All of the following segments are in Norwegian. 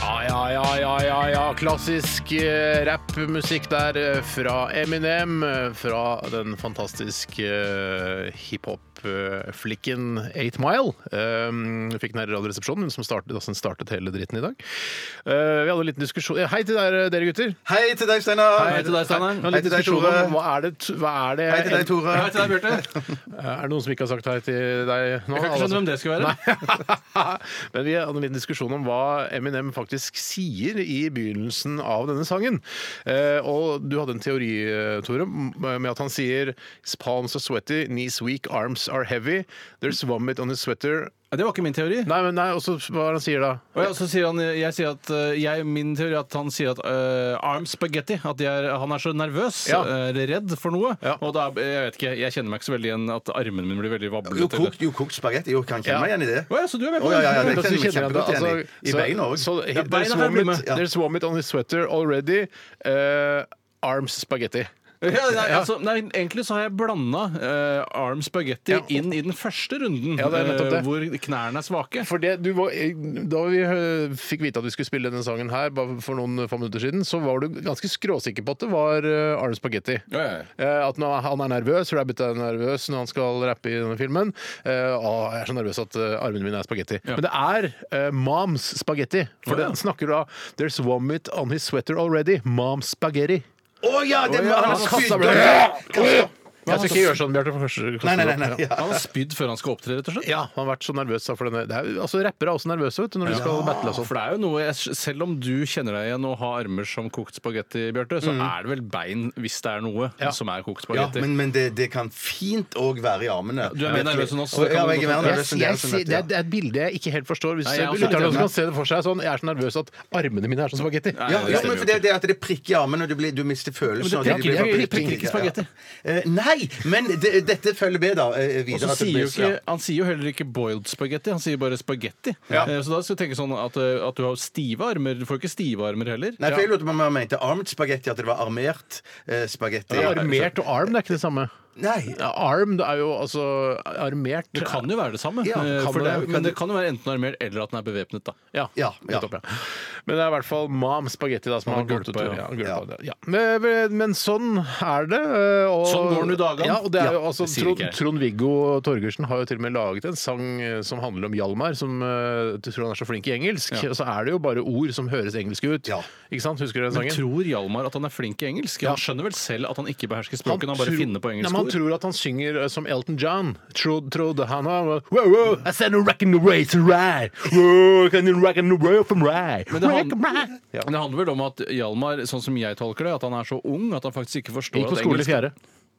Ja, ja, ja, ja, ja, ja. Klassisk eh, rappmusikk der eh, fra Eminem. eh, Fra den fantastiske eh, hiphop-flikken 8 Mile. Um, vi fikk den her i Radioresepsjonen, hun som startet, altså, den startet hele dritten i dag. Eh, vi hadde en liten diskusjon Hei til dere, dere gutter. Hei til deg, Steinar. Hei til deg, Steinar. Hei til deg, Tore. Hva er det, hva er det Hei til deg, Tore. Hei til deg, Bjarte. Er det noen som ikke har sagt hei til deg nå? Jeg kan ikke skjønne hvem det skulle være. Nei. Men vi hadde en liten diskusjon om hva Eminem faktisk sier i begynnelsen av denne sangen. Eh, og du hadde en teori, eh, Tore, m- med at han sier His palms are sweaty, knees weak, arms are heavy, there's vomit on his sweater. Ja, Det var ikke min teori. Nei, men nei, og så hva er det han sier da? Og ja, så sier han, jeg sier at, eh, jeg, min teori er at han sier at eh, arm spaghetti At de er, han er så nervøs, Ja. eh, redd for noe. Ja. Og da, er- jeg vet ikke, jeg kjenner meg ikke så veldig igjen at armen min blir veldig Jo, vablete. kokt, jo, kokt spagetti. Jo, kan kjenne meg igjen i det. Å ja, så du er med Å, på ja, ja, ja, det? det Altså, kjenner jeg meg kjenner jeg kjempegodt det, igjen i. altså, I så- beina òg. så- Ja, There's beina her blir vomit- med. there's vomit on his sweater already. eh, arms spaghetti. Ja, nei, altså, nei, egentlig så har jeg blanda arm spaghetti Ja. inn i den første runden, Ja, det er nettopp eh, det. hvor knærne er svake. For det, du var, da vi eh, fikk vite at vi skulle spille denne sangen her bare for noen få minutter siden, så var du ganske skråsikker på at det var eh, Arne Spagetti. Ja, ja, Eh, At nå- han er nervøs, Rabbit er nervøs når han skal rappe i denne filmen. Eh, Å, jeg er så nervøs at eh, armene mine er spagetti. Men det er eh, Moms spagetti. For Å, ja. den snakker da There's vomit on his sweater already. Moms spagetti. Å ja, det var han Kassa spydde! ble- Jeg skal altså- ikke gjøre sånn, Bjarte. for første- Nei, nei, nei. nei. Ja. Han har spydd før han skal opptre, rett og slett. Ja, han har vært så nervøs da, for denne. Det er, altså, rappere er også nervøse vet du, når de skal battle. og sånt. For det er jo noe, jeg, Selv om du kjenner deg igjen og har armer som kokt spagetti, Bjarte, så er det vel bein hvis det er noe Ja. som er kokt Ja, spagetti. men, men det, det kan fint òg være i armene. Du er mer nervøs enn oss, så Å, det Ja, kan jeg er mer du Jeg, nervøs enn jeg, dere som ser- vet det, er, det. det er et bilde jeg ikke helt forstår. Hvis Nei, jeg er også lytterne litt også enig. kan se det for seg sånn, jeg er så nervøs at armene mine er som spagetti. Ja, Nei, ja, stemmer men jo for det, det at det prikker i armen, og du, blir, du mister følelsen Men og det de prikker blir- ikke- prikker ikke spagetti. Ja. Eh, Nei, men det, dette følger med, da. eh, Og Videre. så at det sier jo blir- ikke, Han sier jo heller ikke boiled spagetti, han sier bare spagetti. Ja. Eh, Så da skal du tenke sånn at, eh, at du har stive armer. Du får ikke stive armer heller. Nei, for jeg lurte på om han mente armed spagetti, at det var armert eh, spagetti. Det er Armert og arm det er ikke det samme. Nei. Ja, Arm det er jo altså armert Det kan jo være det samme, Ja, eh, kan for det- det, er- kan men det- det kan jo være enten armert eller at den er bevæpnet. da. Ja. Ja, ja. nettopp, ja. Men det er i hvert fall mam spagetti da, som Han har gått gulpa, ut. ja. Ja, gulpa, det. ja. Men, men sånn er det. øh, Og, Sånn går den i dagene. Ja, og det er jo, Ja, altså, det sier Trond, ikke jeg. Trond-Viggo Torgersen har jo til og med laget en sang øh, som handler om Hjalmar, som øh, du tror han er så flink i engelsk. Ja. Og så er det jo bare ord som høres engelske ut. Ja. Ikke sant? Husker du den Men sangen? tror Hjalmar at han er flink i engelsk? Han skjønner vel selv at han ikke behersker språket, han bare tror- finner på Nei, men engelske han ord? tror at han synger eh, som Elton John. Trod, trod, han har wow, wow, I said a rock and a race and ride. Wow, can you rock and a roll from ride. Men det Rock han- and ride. Men det handler vel om at Hjalmar, sånn som jeg tolker det, at han er så ung at han faktisk ikke forstår Gikk på at skole i engelsk fjerde.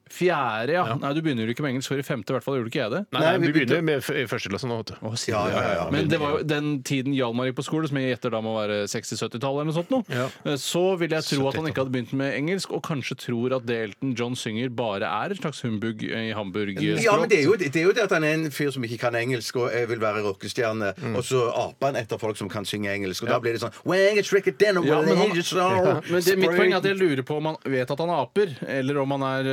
Fjerde, ja. Nei, du begynner jo ikke med engelsk før i femte, i hvert fall gjorde ikke jeg det. Nei, Nei, nei, vi vi begynner med f- i første klasse nå, vet du. Å, sier Ja, du det? ja, ja, ja. Men det var jo den tiden Hjalmar gikk på skole, som jeg gjetter da må være 60-70-tallet eller noe sånt nå, Ja. eh, så vil jeg tro at han ikke hadde begynt med engelsk, og kanskje tror at det Elton John synger bare er et slags humbug i Hamburg. Ja, men det er, jo, det er jo det at han er en fyr som ikke kan engelsk og eh, vil være rockestjerne, Mm. og så aper han etter folk som kan synge engelsk, og da blir det sånn Wang, it's Ricky Denham, Ja, men han- Wang, it's all Men det, mitt poeng er at jeg spring." lurer på om han vet at han aper, eller om han er,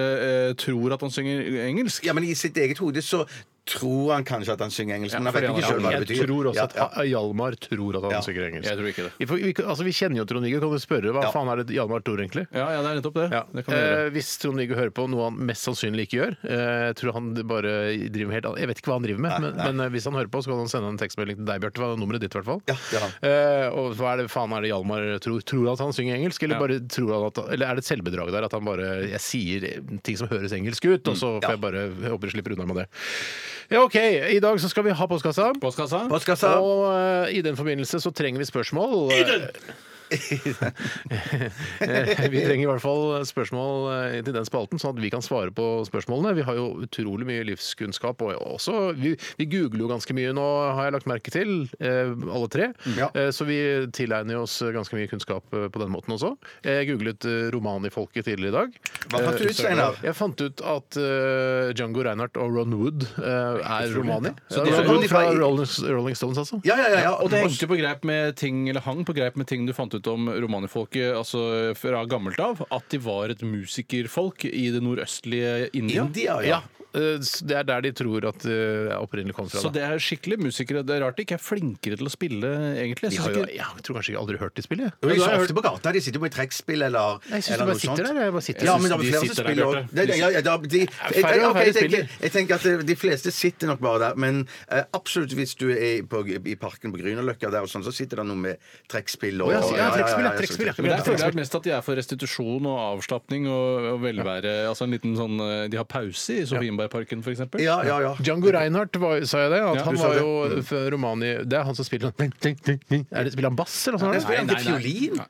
eh, tror at han synger engelsk. Ja, men i sitt eget hode så tror han kanskje at han synger engelsk, men han vet fordi ikke han- sjøl hva det Jeg betyr. tror også at Ja, ja. ha- Hjalmar tror at han Ja. synger engelsk. Jeg tror ikke det. Vi, får- vi, kan- altså, vi kjenner jo Trond-Viggo, kan du spørre hva Ja. faen er det Hjalmar tror egentlig? Ja, ja, det er nettopp det. Ja. Det kan vi gjøre. Eh, hvis Trond-Viggo hører på noe han mest sannsynlig ikke gjør eh, Jeg tror han bare driver helt Jeg vet ikke hva han driver med, men, men eh, hvis han hører på, så kan han sende en tekstmelding til deg, Bjarte. Hva er nummeret ditt, i hvert fall? Ja, det har han. Eh, og hva er det faen er det Hjalmar tror? Tror han at han synger engelsk, eller, Ja. bare tror han at, eller er det et selvbedrag der at han bare Jeg sier ting som høres engelsk ut, og Mm, så får jeg bare jeg håper jeg slipper unna med det. Ja, OK. I dag så skal vi ha postkassa. Postkassa? Postkassa. Og eh, i den forbindelse så trenger vi spørsmål. I den! Eh, Vi trenger i hvert fall spørsmål eh, til den spalten, sånn at vi kan svare på spørsmålene. Vi har jo utrolig mye livskunnskap, og også Vi, vi googler jo ganske mye nå, har jeg lagt merke til, eh, alle tre. Ja. Eh, Så vi tilegner jo oss ganske mye kunnskap eh, på den måten også. Jeg googlet eh, romanifolket tidligere i dag. Hva fant du ut, Eh, Steinar? Jeg fant ut at eh, Django Reinhardt og Ron Wood eh, er romani. Så de Ron som kom Wood fra fra- Rolling, Rolling Stones, altså. Ja, ja, ja, ja. Og det hengte på greip med ting, eller hang på greip med ting du fant ut om romanifolket altså fra gammelt av. At de var et musikerfolk i det nordøstlige India. India, ja. Ja, eh, s- Det er der de tror at det opprinnelig kom fra. Så da. det er skikkelig musikere. Det er rart de ikke er flinkere til å spille, egentlig. De Jeg har synes jo, ikke- jeg tror kanskje jeg aldri har hørt de spille. Jo, jeg. Jeg så ofte på gata. De sitter jo på et trekkspill eller, Nei, jeg synes eller de bare sitter der, jeg bare sitter. Ja, Jeg men det synes er de flere som sitter der, spiller òg. Bjarte. Ja, ja, ja, da- de- og jeg- ok, færre jeg tenker- spiller. Jeg tenker at eh, de fleste sitter nok bare der. Men eh, absolutt hvis du er på, i parken på Grünerløkka der og sånn, så sitter det noe med trekkspill og Å, ja, så- ja, trekkspill, ja, så- trekkspill, ja. Men der føler jeg mest at de er for restitusjon og avslapning og, og velvære. Altså en liten sånn eh, De har pause i Sofienbergparken, for eksempel. Ja, ja, ja. Django Reinhardt, var, sa jeg det? At Ja, han du sa var jo fra Romani Det er han som spiller sånn er det, Spiller han bass, eller noe Nei, sånt? spiller han til fiolin?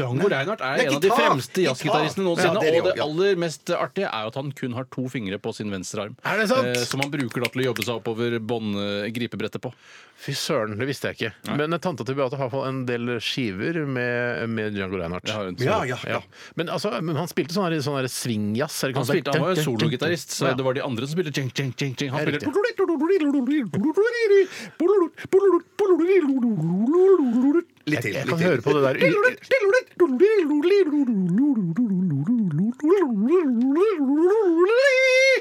Dango Reinhardt er, Det er en av de gitar! fremste jazzgitaristene Gitar! noensinne. Ja, det er det og det jo, ja. aller mest artige er jo at han kun har to fingre på sin venstre arm. eh, Er det sant? som han bruker da til å jobbe seg oppover bånd, eh, gripebrettet på. Fy søren, det visste jeg ikke. Men eh, tanta til Beate har i hvert fall en del skiver med, med Django Reinhardt. Det har hun. Ja, ja, Ja. ja. Men, altså, men han spilte sånn her- sånn her swingjazz. er det ikke Han, sånn- spilte, han var jo sologitarist, så Ja. det var de andre som spilte tjeng, tjeng, tjeng, tjeng. Han Ja, riktig. spilte Litt Litt til. Jeg litt kan til. høre på det der u-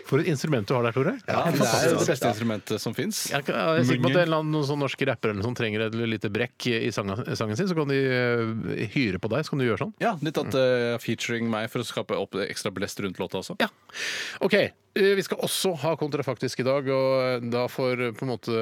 For et instrument du har der, Tore. ja, det Det er er- det beste instrumentet som fins. Jeg er jeg er sikker på at en eller annen noen sånn norske rapper eller noe sånt trenger et lite brekk i sangen, sangen sin, så kan de eh, hyre på deg, så kan du gjøre sånn. Ja, litt at eh, featuring meg for å skape opp ekstra blest rundt låta også. Ja. OK. eh, Vi skal også ha kontrafaktisk i dag, og da får eh, på en måte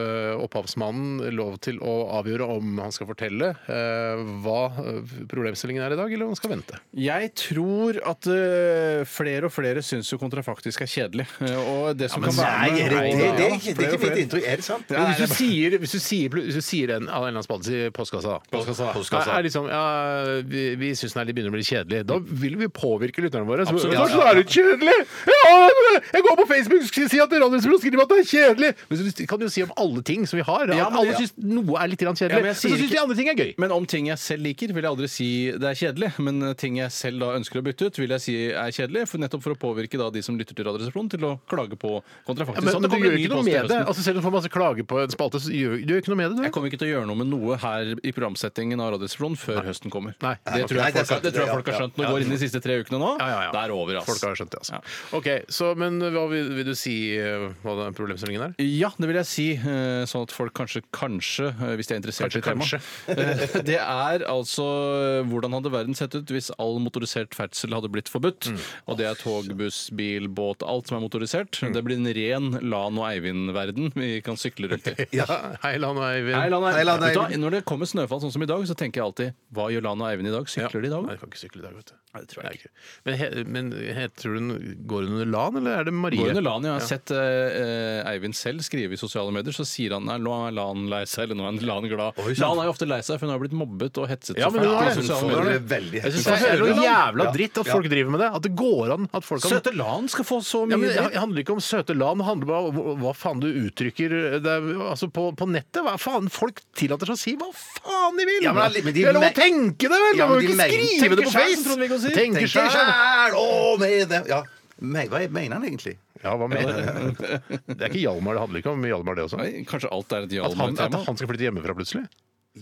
opphavsmannen lov til å avgjøre om han skal fortelle eh, hva eh, problemstillingen er i dag, eller om han skal vente. Jeg tror at eh, flere og flere syns jo kontrafaktisk er kjedelig. eh, og det som kan Nei, være er med- det, det, det, er Ja, ikke- det flere er og ikke mitt flere. inntrykk. Er det sant? Men hvis, du sier, hvis, du sier, hvis du sier en av en eller annen spalte i postkassa, da. Postkassa. Er, er liksom, ja, vi vi syns den er litt begynner å bli kjedelig. Da vil vi påvirke lytterne våre. Så, Absolutt, ja, ja, ja, ja. er det kjedelig! Ja, jeg går på Facebook og sier at Radiosporet skriver at det er kjedelig! Men så kan du jo si om alle ting som vi har. Ja, men alle det- syns noe er litt grann Ja, kjedelig, men men, jeg sier så syns ikke- de andre ting er gøy. Men om ting jeg selv liker, vil jeg aldri si det er kjedelig. Men eh, ting jeg selv da ønsker å bytte ut, vil jeg si er kjedelig. For nettopp for å påvirke da de som lytter til Radioresepsjonen til å klage på kontrafaktisk. Ja, men, Sånn, men det du kommer gjør en ny ikke noe post i med det. høsten. Altså, selv om du får masse klager på en spalte, så gjør du gjør ikke noe med det. Jeg Du. kommer ikke til å gjøre noe med noe her i programsettingen av Radioresepsjonen før høsten kommer. Nei. Det tror Nei, jeg det er folk, sant, har- det tror jeg det, folk har ja, skjønt når de går inn i de siste tre ukene nå. Det er over, ass. Folk har skjønt det, altså. Ok, så, men hva vil, vil du si eh, hva den problemstillingen er? Ja, det vil jeg si. eh, Sånn at folk kanskje, kanskje, eh, hvis de er interessert i Kanskje, temaet Eh, Det er altså eh, hvordan hadde verden sett ut hvis all motorisert ferdsel hadde blitt forbudt? Og det er tog, buss, bil, båt, alt som er motorisert. Det blir en ren Lan og Eivind-verden vi kan sykle rundt i. Ja. Hei, Lan og Eivind. Hei, Lan og Hei, Lan Eivind. og Vet du hva, Eivind. Når det kommer snøfall sånn som i dag, så tenker jeg alltid hva gjør Lan og Eivind i dag? Ja. Sykler de i dag? Nei, også? jeg kan ikke sykle i dag, vet du. Nei, det tror jeg Nei, ikke. Men, he, men heter hun Går hun under LAN, eller er det Marie? Går under LAN, ja. Jeg har sett eh, eh, Eivind selv skrive i sosiale medier, så sier han nei, nå er LAN lei seg, eller nå er LAN glad. Oi, sant. LAN er jo ofte lei seg, for hun har blitt mobbet og hetset Ja, men hun i har det. sosiale Hun får medier. det veldig Jeg syns heftig. det er noe jævla Ja. dritt at folk driver med det. At det går an at folk kan Søte LAN skal få så ja, men mye Det handler ikke om søte LAN, det handler bare om hva- hva faen du uttrykker det er, altså på, på nettet. Hva faen Folk tillater seg å si hva faen de vil! Ja, men alle- men de det er lov å men- tenke det, vel! Ja, Man må men jo de ikke men- skrive det tenker på selv, Face! som Trond-Viggo sier. Tenker Tenker sjæl! sjæl! Å, med det! Ja. Men, hva mener han egentlig? Ja, hva mener du? Det er ikke Hjalmar, det handler ikke om Hjalmar, det også. Nei, Kanskje alt er At et han, at Hjalmar-tema? han skal flytte hjemmefra plutselig?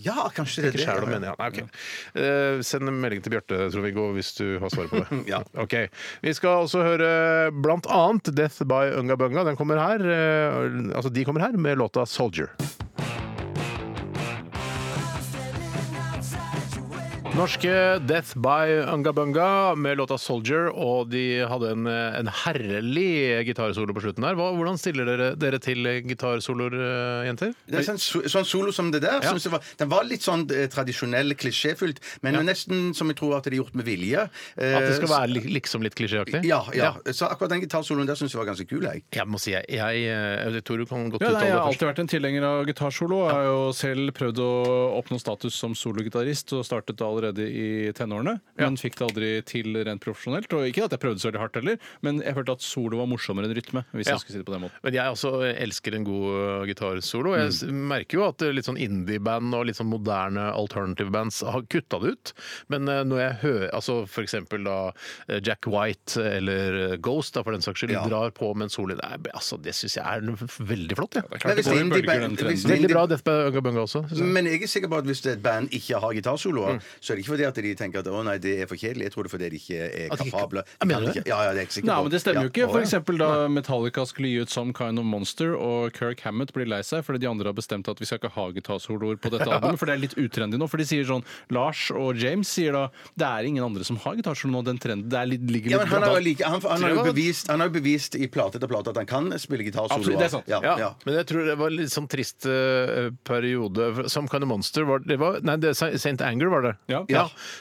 Ja, kanskje det er Ikke det. sjæl, da, mener jeg. Nei, ok. Eh, send en melding til Bjarte, Trond-Viggo, hvis du har svaret på det. Ja. Ok. Vi skal også høre blant annet Death by Unga Bunga. Den kommer her. eh, altså, de kommer her med låta 'Soldier'. Norske Death by Unga Bunga med låta 'Soldier', og de hadde en, en herlig gitarsolo på slutten her. Hva, hvordan stiller dere dere til gitarsoloer, eh, jenter? Det er sånn, so- sånn solo som det der. synes jeg var, den var litt sånn eh, tradisjonell, klisjéfullt, men nesten som jeg tror at det er gjort med vilje. Eh, At det skal være li- liksom litt klisjéaktig? ja, ja. Så akkurat den gitarsoloen der syns jeg var ganske kul. Jeg. Jeg må si, jeg, jeg, eh, jeg tror du kan godt Ja, nei, uttale det jeg har først. alltid vært en tilhenger av gitarsolo. og Jeg har jo selv prøvd å oppnå status som sologitarist og startet allerede allerede i tenårene, men fikk det aldri til rent profesjonelt. Og ikke at jeg prøvde så veldig hardt heller, men jeg følte at solo var morsommere enn rytme. hvis Ja. jeg skulle si det på den måten. Men jeg også elsker en god øh, gitarsolo. Jeg s- Mm. merker jo at øh, litt sånn indie-band og litt sånn moderne alternative bands har kutta det ut. Men øh, når jeg hører altså for eksempel da øh, Jack White eller øh, Ghost da, for den saks skyld, Ja. drar på med en solo Nei, altså, det syns jeg er n- veldig flott. Ja. Men det hvis går i indie bølger, band- den trenden. hvis Veldig indie- bra Death by Unga Bunga også. synes jeg. Men jeg er sikker på at hvis et band ikke har gitarsoloer, Mm. så er det ikke fordi at de tenker at å nei, det er for kjedelig. Jeg tror det er fordi de ikke er At de ikke- kapable. Ja, mener du Kan det? ikke- Ja, ja, det er jeg sikker Nei, på. men Det stemmer jo ikke. Ja. For eksempel da Metallica skulle gi ut Some Kind of Monster, og Kirk Hammett blir lei seg fordi de andre har bestemt at vi skal ikke ha gitarsoloer på dette albumet, for det er litt utrendy nå. For de sier sånn Lars og James sier da det er ingen andre som har gitarsolo nå, den trenden det er litt, ligger Ja, men litt han blant har, jo alt». like, han, han, har jo Tror jeg det. bevist, han har jo bevist i plate etter plate at han kan spille Absolutt, gitarsoloer. det er sant. Ja, Ja, ja. men jeg tror det var litt sånn trist eh, periode. For Some Kind of Monster var det var, Nei, det er St. Anger var det. Ja.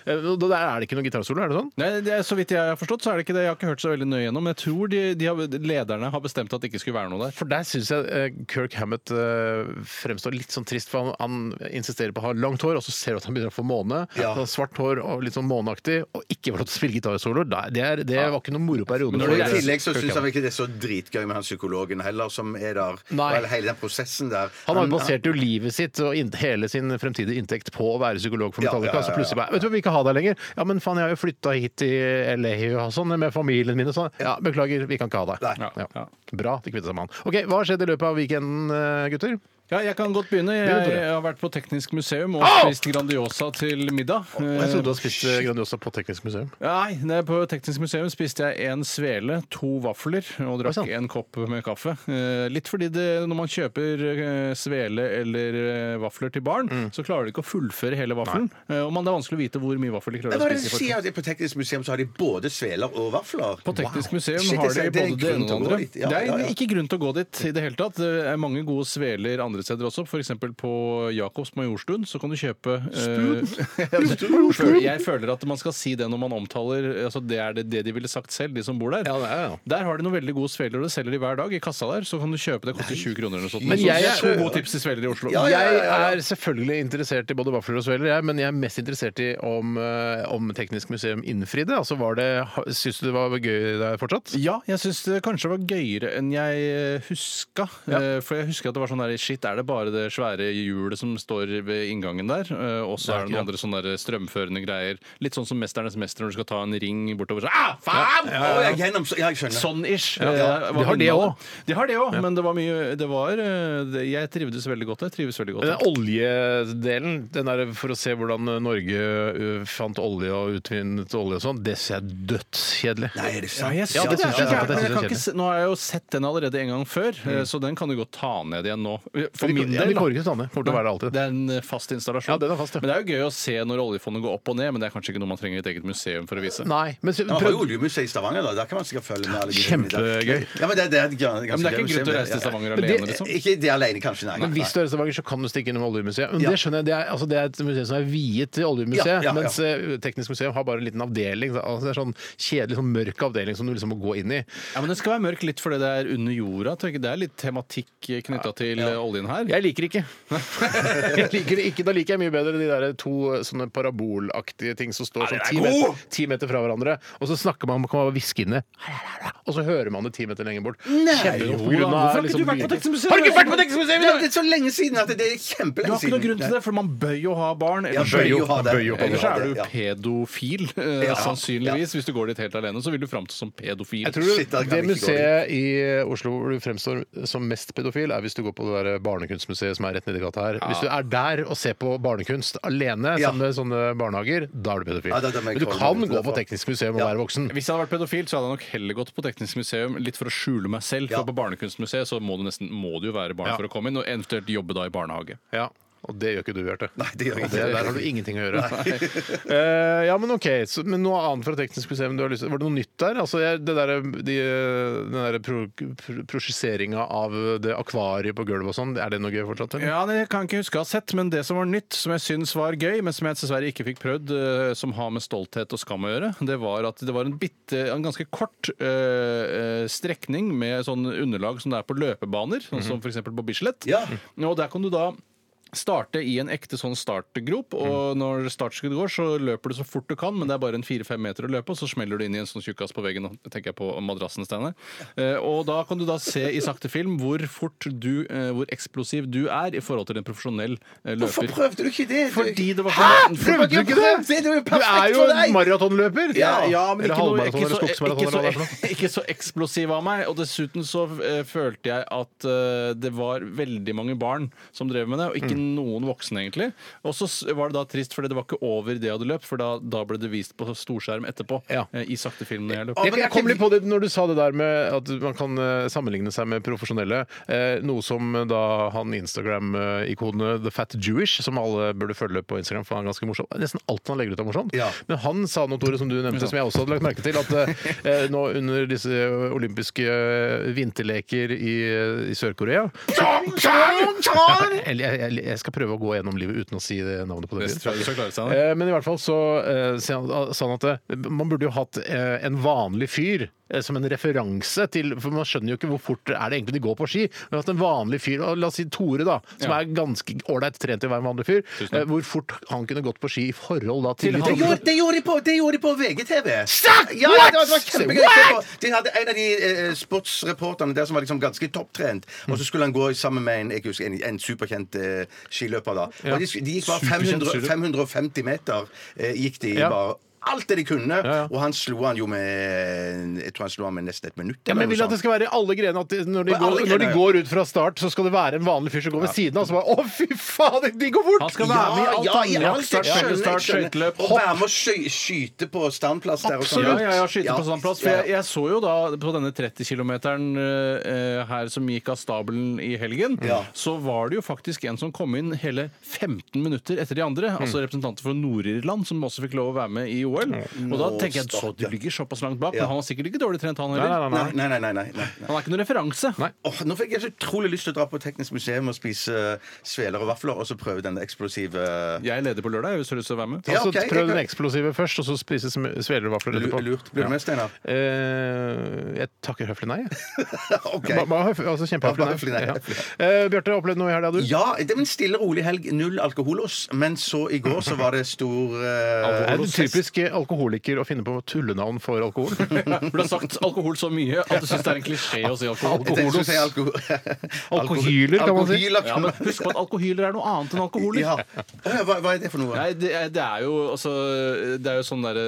Eh, og Da er det ikke noen gitarsolo, er det sånn? Nei, det er, Så vidt jeg har forstått, så er det ikke det. Jeg har ikke hørt så veldig nøye gjennom. Men jeg tror de, de har, lederne har bestemt at det ikke skulle være noe der. For der syns jeg eh, Kirk Hammett eh, fremstår litt sånn trist, for han, han insisterer på å ha langt hår, og så ser du at han begynner å få måne. Så Ja. han har Svart hår og litt sånn måneaktig, og ikke får lov til å spille gitarsoloer. Det, er- det, er- det var ikke noen moro periode. når Og for- I det er- tillegg så syns jeg ikke det er så dritgøy med han psykologen heller, som er der. Nei. Og hele den prosessen der. Han har jo basert jo livet sitt og inn- hele sin fremtidige inntekt på å være psykolog for Ja, Metallica. ja, ja, ja. Så plutselig bare Vet du hva, vi kan ha deg lenger. Ja, men faen, jeg har jo flytta hit til LA og sånn med familien min og sånn. Ja, beklager, vi kan ikke ha deg. Nei. Ja. Bra, de kvitta seg med han. OK, hva har skjedd i løpet av weekenden, eh, gutter? Ja, Jeg kan godt begynne. Jeg, Begynn, Tore. har vært på Teknisk museum og Au! spist Grandiosa til middag. Jeg trodde du hadde spist eh, Grandiosa på Teknisk museum. Nei, nei, på Teknisk museum spiste jeg en svele, to vafler og drakk sant. en kopp med kaffe. Eh, Litt fordi det, når man kjøper eh, svele eller eh, vafler til barn, Mm. så klarer de ikke å fullføre hele vaffelen. Eh, Og man, det er vanskelig å vite hvor mye vaffel de Men klarer å hva er det spise. i du sier? farten. At På Teknisk museum så har de både sveler og vafler? På Teknisk museum Shit, har jeg de ser- det er en både det ene og grunn det til å gå andre. dit. Ja, det er ja, ja. ikke grunn til å gå dit i det hele tatt. Det er mange gode sveler andre steder også. F.eks. på Jacobs Majorstuen så kan du kjøpe Stuen? Jeg føler at man skal si det når man omtaler altså Det er det, det de ville sagt selv, de som bor der. Ja, det er det, Der har de noen veldig gode sveler, og det selger de hver dag. I kassa der så kan du kjøpe det, koster 20 kroner eller noe sånt. Men Så jeg det er- er to gode tips til sveler i Oslo. Ja, ja, ja, ja, ja. Jeg er selvfølgelig interessert i både vafler og sveller, jeg, men jeg er mest interessert i om, eh, om Teknisk museum innfridde. Altså, var det, ha- Syns du det var gøy der fortsatt? Ja, jeg syns det kanskje var gøyere enn jeg eh, huska. Eh, For jeg husker at det var sånn der Shit, er det bare det svære hjulet som står ved inngangen der? Eh, Og så er det noen andre sånne der strømførende greier. Litt sånn som Mesternes mester når du skal ta en ring bortover. Så, ah, faen! Ja, ja, ja. Gjennom, ja, jeg Sånn. skjønner. Sånn-ish. ja. Eh, De har det innholdet. også. De har det òg, men det var mye det var, eh, det- Jeg trivdes veldig godt. Jeg trives veldig godt. Den Eh, oljedelen, den der for å se hvordan eh, Norge ø, fant olje og utvinnet olje og sånn, det ser jeg dødskjedelig. Nei, er det Ja, sant? jeg Ja, det synes det synes jeg er er så gærent, men kjedelig. jeg kan ikke se- Nå har jeg jo sett den allerede en gang før, eh, så den kan du godt ta ned igjen nå. eh, For min ja, del. de da. kommer ikke til å ta ned. Kommer til å være der alltid. Det er en eh, fast installasjon. Ja, den er fast, ja. Men det er jo gøy å se når oljefondet går opp og ned, men det er kanskje ikke noe man trenger et eget museum for å vise. Nei, men så- Han har jo prøv, oljemuseet i Stavanger, da. Der kan man sikkert følge med. alle de tingene der. Kjempegøy. Ja, men det, det er, et gans- Ja, men det er ikke ganske en grunn til å reise gøy museum, til ja. Eh, Stavanger Men det- alene, liksom. Ikke det alene, kanskje. Nei. men hvis du Nei. er i Stavanger, så kan du stikke innom oljemuseet. Men Ja. Det skjønner jeg, det er, altså, det er et museum som er viet til oljemuseet, Ja, ja, ja. mens ø, Teknisk museum har bare en liten avdeling. så- Altså, det er sånn kjedelig, sånn mørk avdeling som du liksom må gå inn i. Ja, men Det skal være mørkt litt fordi det er under jorda. tenker jeg. Det er litt tematikk knytta til eh, oljen her. Jeg liker ikke. jeg liker det ikke. Da liker jeg mye bedre de der to eh, sånne parabolaktige ting som står sånn ti meter, ti meter fra hverandre, og så snakker man kan man bare hviske inn det, og så hører man det ti meter lenger bort. Kjempegodt, på grunn av Hvorfor har ikke du liksom lyden. vært på Teknisk museum? Har du ikke vært på Teknisk Men museum? i det dag? er så lenge siden at det er kjempelenge Du har ikke siden. noe grunn til det, for man bør jo ha barn. Ja, Ellers, bør jo ha det. bøy jo ha det. ellers er du Ja. pedofil, eh, Ja. sannsynligvis. Hvis du går dit helt alene, så vil du framstå som pedofil. Jeg tror Shit, da kan Det vi ikke gå museet i Oslo hvor du fremstår som mest pedofil, er hvis du går på det der barnekunstmuseet som er rett nedi gata her. Hvis du er der og ser på barnekunst alene Ja. sammen med sånne barnehager, da er du pedofil. Ja, da- da må Men jeg du komme kan meg gå ut på derfra. Teknisk museum og Ja. være voksen. Hvis jeg hadde vært pedofil, så hadde jeg nok heller gått på Teknisk museum litt for å skjule meg selv. Ja. For på Barnekunstmuseet så må du nesten må du jo være barn Ja. for å komme inn, og eventuelt jobbe da i barnehage. Ja, og det gjør ikke du, Bjarte. Nei, det gjør jeg Og ikke. Der har du ingenting å gjøre. Eh, ja, men ok, så, men noe annet fra Teknisk museum du har lyst til? Var det noe nytt der? Altså, jeg, det der, de, eh, den der pro, pro, prosjiseringa av det akvariet på gulvet og sånn, er det noe gøy fortsatt? eller? Ja, det kan jeg ikke huske å ha sett, men det som var nytt, som jeg syns var gøy, men som jeg dessverre ikke fikk prøvd, eh, som har med stolthet og skam å gjøre, det var at det var en, bitte, en ganske kort eh, eh, strekning Mhm. med sånn underlag som det er på løpebaner, sånn som for eksempel på Bislett. Ja. Og der kan du da Starte i en ekte sånn startgrop, og når startskuddet går, så løper du så fort du kan, men det er bare en fire-fem meter å løpe, og så smeller du inn i en sånn tjukkas på veggen, og- tenker jeg på madrassen, Steinar. Eh, Og da kan du da se i sakte film hvor fort du, eh, hvor eksplosiv du er i forhold til en profesjonell eh, Hvorfor løper. prøvde du ikke det? Du- Fordi det var sånn Prøvde du ikke det? Det er jo Du er jo perfekt for en deg! maratonløper! Ja. men Eller ikke noe halvmaraton ikke eller så- skogsmaraton ikke så- eller hva det er for noe. Ikke så eksplosiv av meg. Og dessuten så eh, følte jeg at eh, det var veldig mange barn som drev med det, og ikke noen voksne, egentlig. Og så s- var det da trist, fordi det var ikke over det jeg hadde løpt, for da, da ble det vist på storskjerm etterpå Ja. eh, i sakte film når jeg løp. Jeg, jeg kom litt på det når du sa det der med at man kan eh, sammenligne seg med profesjonelle. Eh, noe som da han Instagram-ikonet The Fat Jewish, som alle burde følge på Instagram, for han er ganske morsom. Nesten alt han legger ut er morsomt. Ja. Men han sa noe, Tore, som du nevnte, som jeg også hadde lagt merke til, at eh, nå under disse olympiske eh, vinterleker i, eh, i Sør-Korea Eller jeg, jeg, jeg skal prøve å gå gjennom livet uten å si det navnet på det. Det tror jeg du skal klare, Eh, Steinar. Men i hvert fall så eh, sier han sa han at eh, man burde jo hatt eh, en vanlig fyr eh, som en referanse til For man skjønner jo ikke hvor fort er det egentlig de går på ski. Men at en vanlig fyr, og la oss si Tore, da, som Ja. er ganske ålreit trent til å være en vanlig fyr, eh, hvor fort han kunne gått på ski i forhold da til, de Til Det han. andre. gjorde, det, gjorde de på, det gjorde de på VGTV. Stop! Ja, ja, det var, det var What? kjempegøy å se på. De hadde en av de eh, sportsreporterne der som var liksom ganske topptrent. Og Mm. så skulle han gå sammen med en, jeg husker, en, en superkjent eh, skiløper. da Ja. Og de, de gikk bare Superkjent 500, skiløper. 550 meter. Eh, gikk de Ja. bare Alt det de kunne. ja. Og han slo han jo med Jeg tror han slo han med nesten et minutt. Ja, men jeg eller vil noe at det sånt. skal være i alle grenene at de, når, de På går, alle når de grener, ja. går ut fra start, så skal det være en vanlig fyr som går ved siden av. Så bare, Å, fy faen, de går fort! Han skal være med i alt, ja, han. ja, alt, jeg Start, skjønner, jeg start, skjønner. skøyteløp, Og hopp. være med å sky, skyte på standplass der. og sånn. Ja, ja, ja, skyte Ja. på sånn plass. For jeg, jeg så jo da på denne 30 km-meteren her som gikk av stabelen i helgen, Ja. så var det jo faktisk en som kom inn hele 15 minutter etter de andre. Mm. Altså representanter for Nord-Irland, som også fikk lov å være med i OL. Og da Mm. Nå, tenker jeg så de stakkar. ligger såpass langt bak, Ja. men han var sikkert ikke dårlig trent, han Nei, nei, heller. nei, nei. Nei, nei, nei, nei, nei, nei. Han er ikke noen referanse. Nei. Åh, nå fikk jeg så utrolig lyst til å dra på Teknisk museum og spise eh, sveler og vafler, og så prøve den eksplosive Jeg er ledig på lørdag, hvis du har lyst til å være med. Ja, Altså, ok, jeg prøv kan- den eksplosive først, og så spise sm- sveler og vafler etterpå. Lurt. Blir du med, Steinar? Eh, jeg takker høflig nei. jeg. OK. Ba- Bare høf- altså, Ja, kjempehøflig bare høflig nei, nei. Ja. høflig Eh, Bjarte, har opplevd noe i helga, du? Ja, det var en stille, rolig helg. Null alkoholos. Men så i går så var det stor eh, Er du typisk eh, alkoholiker å finne på tullenavn for alkohol? For du har sagt alkohol så mye at du syns det er en klisjé å si alkohol. Jeg tenkte jeg skulle si alko Alkohyler, kan man si. Alkohyler, Ja, men husk på at alkohyler er noe annet enn alkoholer. Ja. Åh, Hva, hva er det for noe? Nei, det er, det er jo altså, Det er jo sånn derre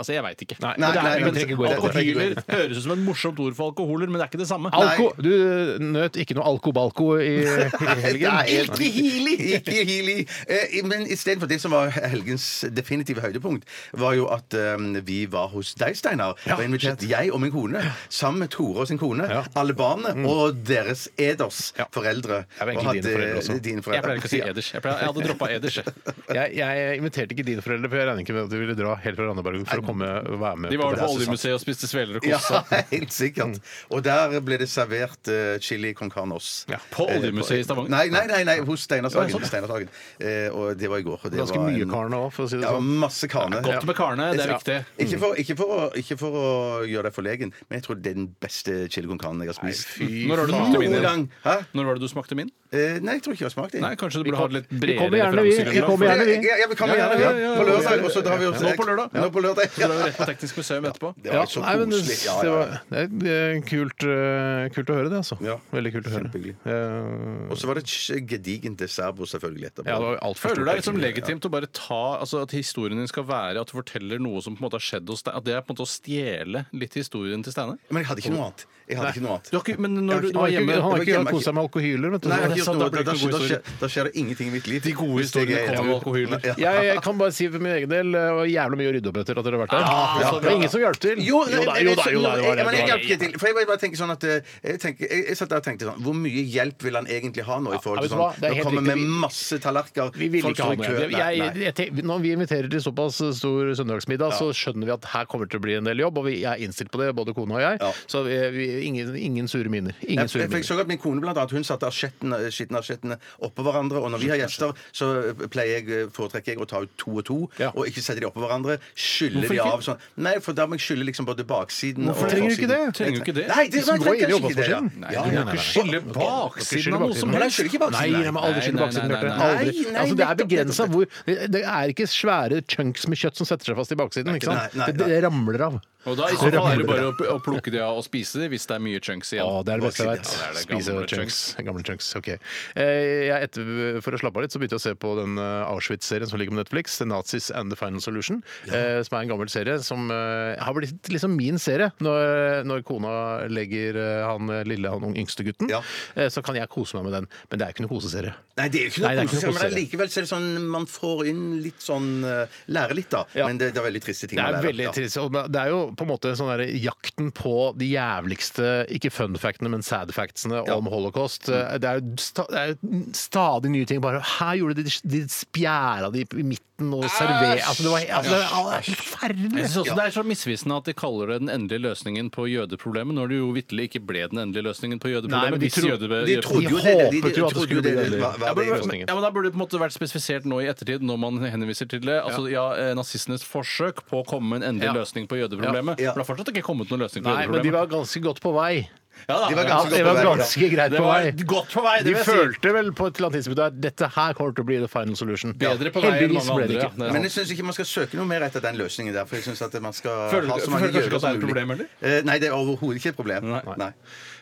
Altså, jeg veit ikke. Nei, Men det er, nei, men vi trenger ikke gå i det. alkohyler høres ut som et morsomt ord for alkoholer, men det er ikke det samme. Alko, du eh, nøt ikke noe alkobalko i, i helgen? Nei, ikke Healy! Ikke Healy. Eh, i- men istedenfor det som var helgens definitive høydepunkt, var jo at eh, vi var hos deg, Steinar. og invitert jeg og min kone, sammen med Tore og sin kone, Ja. Mm. alle barna og deres eders foreldre. Det var egentlig og dine foreldre også. dine Jeg foreldre. pleier ikke å si eders. Jeg, pleier, jeg hadde droppa eders. jeg. Jeg, jeg inviterte ikke dine foreldre, for jeg regner ikke med at de ville dra helt fra Randaberg for å komme og være med. De var på vel på det. Oljemuseet og spiste sveler og Ja, kosa. helt sikkert. Mm. Og der ble det servert eh, chili con carnos. Ja, På Eh, Oljemuseet i Stavanger. Nei, nei, nei, nei hos Steinar Sagen. Ja, sånn, ja. Steinar Sagen. Eh, og det var i går. Og det Ganske var mye en- karne òg, for å si det Ja, sånn. masse karne. Godt med karene, det er Ja. viktig. Ikke for, ikke, for å, ikke for å gjøre deg forlegen, men jeg tror det er den beste chili con carne jeg har spist. Når var det du Noen smakte min? Erik? gang. Hæ? Når var det du smakte min? Eh, nei, jeg tror ikke jeg har smakt det. Nei, Kanskje du burde ha et litt vi kommer gjerne, bredere vi. Vi referansegrunnlag. kommer for det. gjerne. vi. Ja, ja, vi kommer Ja, gjerne ja, ja, ja, på ja. lørdag. Og så drar vi oss Nå på lørdag. Nå på lørdag. Så drar vi rett på Teknisk museum etterpå. Det Ja, var så nei, men det, koselig. Ja, det, ja, var, ja. det er eh, kult, eh, kult å høre det, altså. Ja. Veldig kult å høre. Kjempehyggelig. Eh, Og så var det et gedigent dessertbord selvfølgelig etterpå. ja, det var alt for Føler du stort, det er liksom egentlig. legitimt å bare ta altså At historien din skal være at du forteller noe som på en måte har skjedd hos deg? At det er på en måte å stjele litt historien til Steinar? Men jeg hadde ikke noe annet. Jeg hadde ikke noe annet. Du har ikke, men når du, Jeg du Han var har ikke, hjemme han har Jeg var ikke hjemme- kost seg med alkohyler, vet du. Nei, jeg har ikke sant, gjort da noe. blir det Da, ikke noe skjer- da, god skjer, da skjer det ingenting i mitt liv. sånn De gode Hvis jeg historiene er- kommer om alkohyler. Ja. Jeg, jeg kan bare si for min egen del eh, og jævlig mye å rydde opp etter at dere har vært der. ja, det var ingen som hjalp til. Jo, da, jo da, jo da. det var jeg, det, men det jeg var hjalp det. ikke til. For jeg bare- bare tenker sånn at eh, Jeg, tenker, jeg, jeg satt der og tenkte sånn Hvor mye hjelp vil han egentlig ha nå? i forhold vet til du sånn hva? Det er Nå helt kommer riktig. med masse tallerkener. Vi ville folk ikke ha står i noe. kø. Jeg, jeg, Nei, nei. jeg, tenk- når vi inviterer til såpass stor søndagsmiddag, så skjønner vi at her kommer det til å bli en del jobb, og vi er innstilt på det, både kona og jeg. Ja. Så vi, vi, ingen, ingen sure miner. Jeg, Ingen sure jeg, jeg miner. så at Min kone blant annet, hun satte asjetten skittenasjettene oppå hverandre. Og når vi har gjester, så pleier jeg, eh, foretrekker jeg å ta ut to og to, Ja. og ikke sette de oppå hverandre. Skylle Hvorfor de ikke? av sånn. Nei, for da må jeg skylle liksom både baksiden Hvorfor og trenger du ikke forsiden. det? Trenger du ikke det? Nei, det, De som man går inn i trenger kanskje ikke det. oppvaskmaskinen. Ja, Du ja. kan ikke skylde baksiden av noe som Nei, helst. jeg skyller ikke baksiden. Nei, jeg må aldri Nei, skylde nei, baksiden. nei, Bjarte. nei, nei. Aldri. Nei, nei, Altså, det er nettopp, begrensa nettopp. hvor det- Det er ikke svære chunks med kjøtt som setter seg fast i baksiden. ikke sant? Nei, nei, Det, det ramler av. Og da i så fall er det bare å å plukke de av og spise de hvis det er mye chunks igjen. Å, det er det beste jeg vet. Ja, det er det. Spise Gamle chunks. Gamle chunks. Ok. Eh, Jeg etter, for å slappe av litt, så begynte jeg å se på den eh, Auschwitz-serien som ligger på Netflix, The Nazis and the Final Solution, eh, som er en gammel serie som eh, har blitt liksom min serie. Når, når kona legger eh, han eh, lille, han yngste gutten, Ja. eh, så kan jeg kose meg med den. Men det er ikke noe koseserie. Nei, det er jo ikke Nei, det noe er ikke noe koselig, men koselig. likevel så er det sånn man får inn litt sånn eh, Lærer litt, da. Ja. Men det, det er veldig triste ting Det man er lærer, veldig ja. trist. Og det er jo på en måte sånn der jakten på de jævligste, ikke fun factene, men sad factsene om holocaust. Eh, Det er jo sta, det er jo stadig nye ting. Bare her gjorde de det, de spjæra de i midten og serverte altså, Det var altså, det er- det er helt Jeg forferdelig. synes også Det er så misvisende at de kaller det den endelige løsningen på jødeproblemet, når det jo vitterlig ikke ble den endelige løsningen på Nei, jødeproblemet. men de hvis tro- jøde- De De trodde jo det. håpet jo at det trodde skulle bli det veldig- var- var Ja, det men, løsningen. men, ja, men Da burde det på en måte vært spesifisert nå i ettertid, når man henviser til det. Altså, ja, eh, Nazistenes forsøk på å komme med en Ja. endelig løsning på jødeproblemet. Ja. Ja. For det har fortsatt ikke kommet noen løsning på Nei, men de jødeproblemet. var ganske godt på vei. Ja, da. de var Ja, det ganske godt på var vei, ganske greit Det på var vei. godt på vei, det De vil jeg si. følte vel på et eller annet tidspunkt at dette her kommer til å bli the final solution. Bedre på vei enn Heldigvis mange ble det andre. ikke. Ja, det er Men sant. jeg syns ikke man skal søke noe mer etter den løsningen der. For jeg synes at man skal Føler du- ha så føler mange du kanskje ikke jøder at det er som et mulig. problem, eller? Eh, Nei, det er overhodet ikke et problem. Nei. Nei.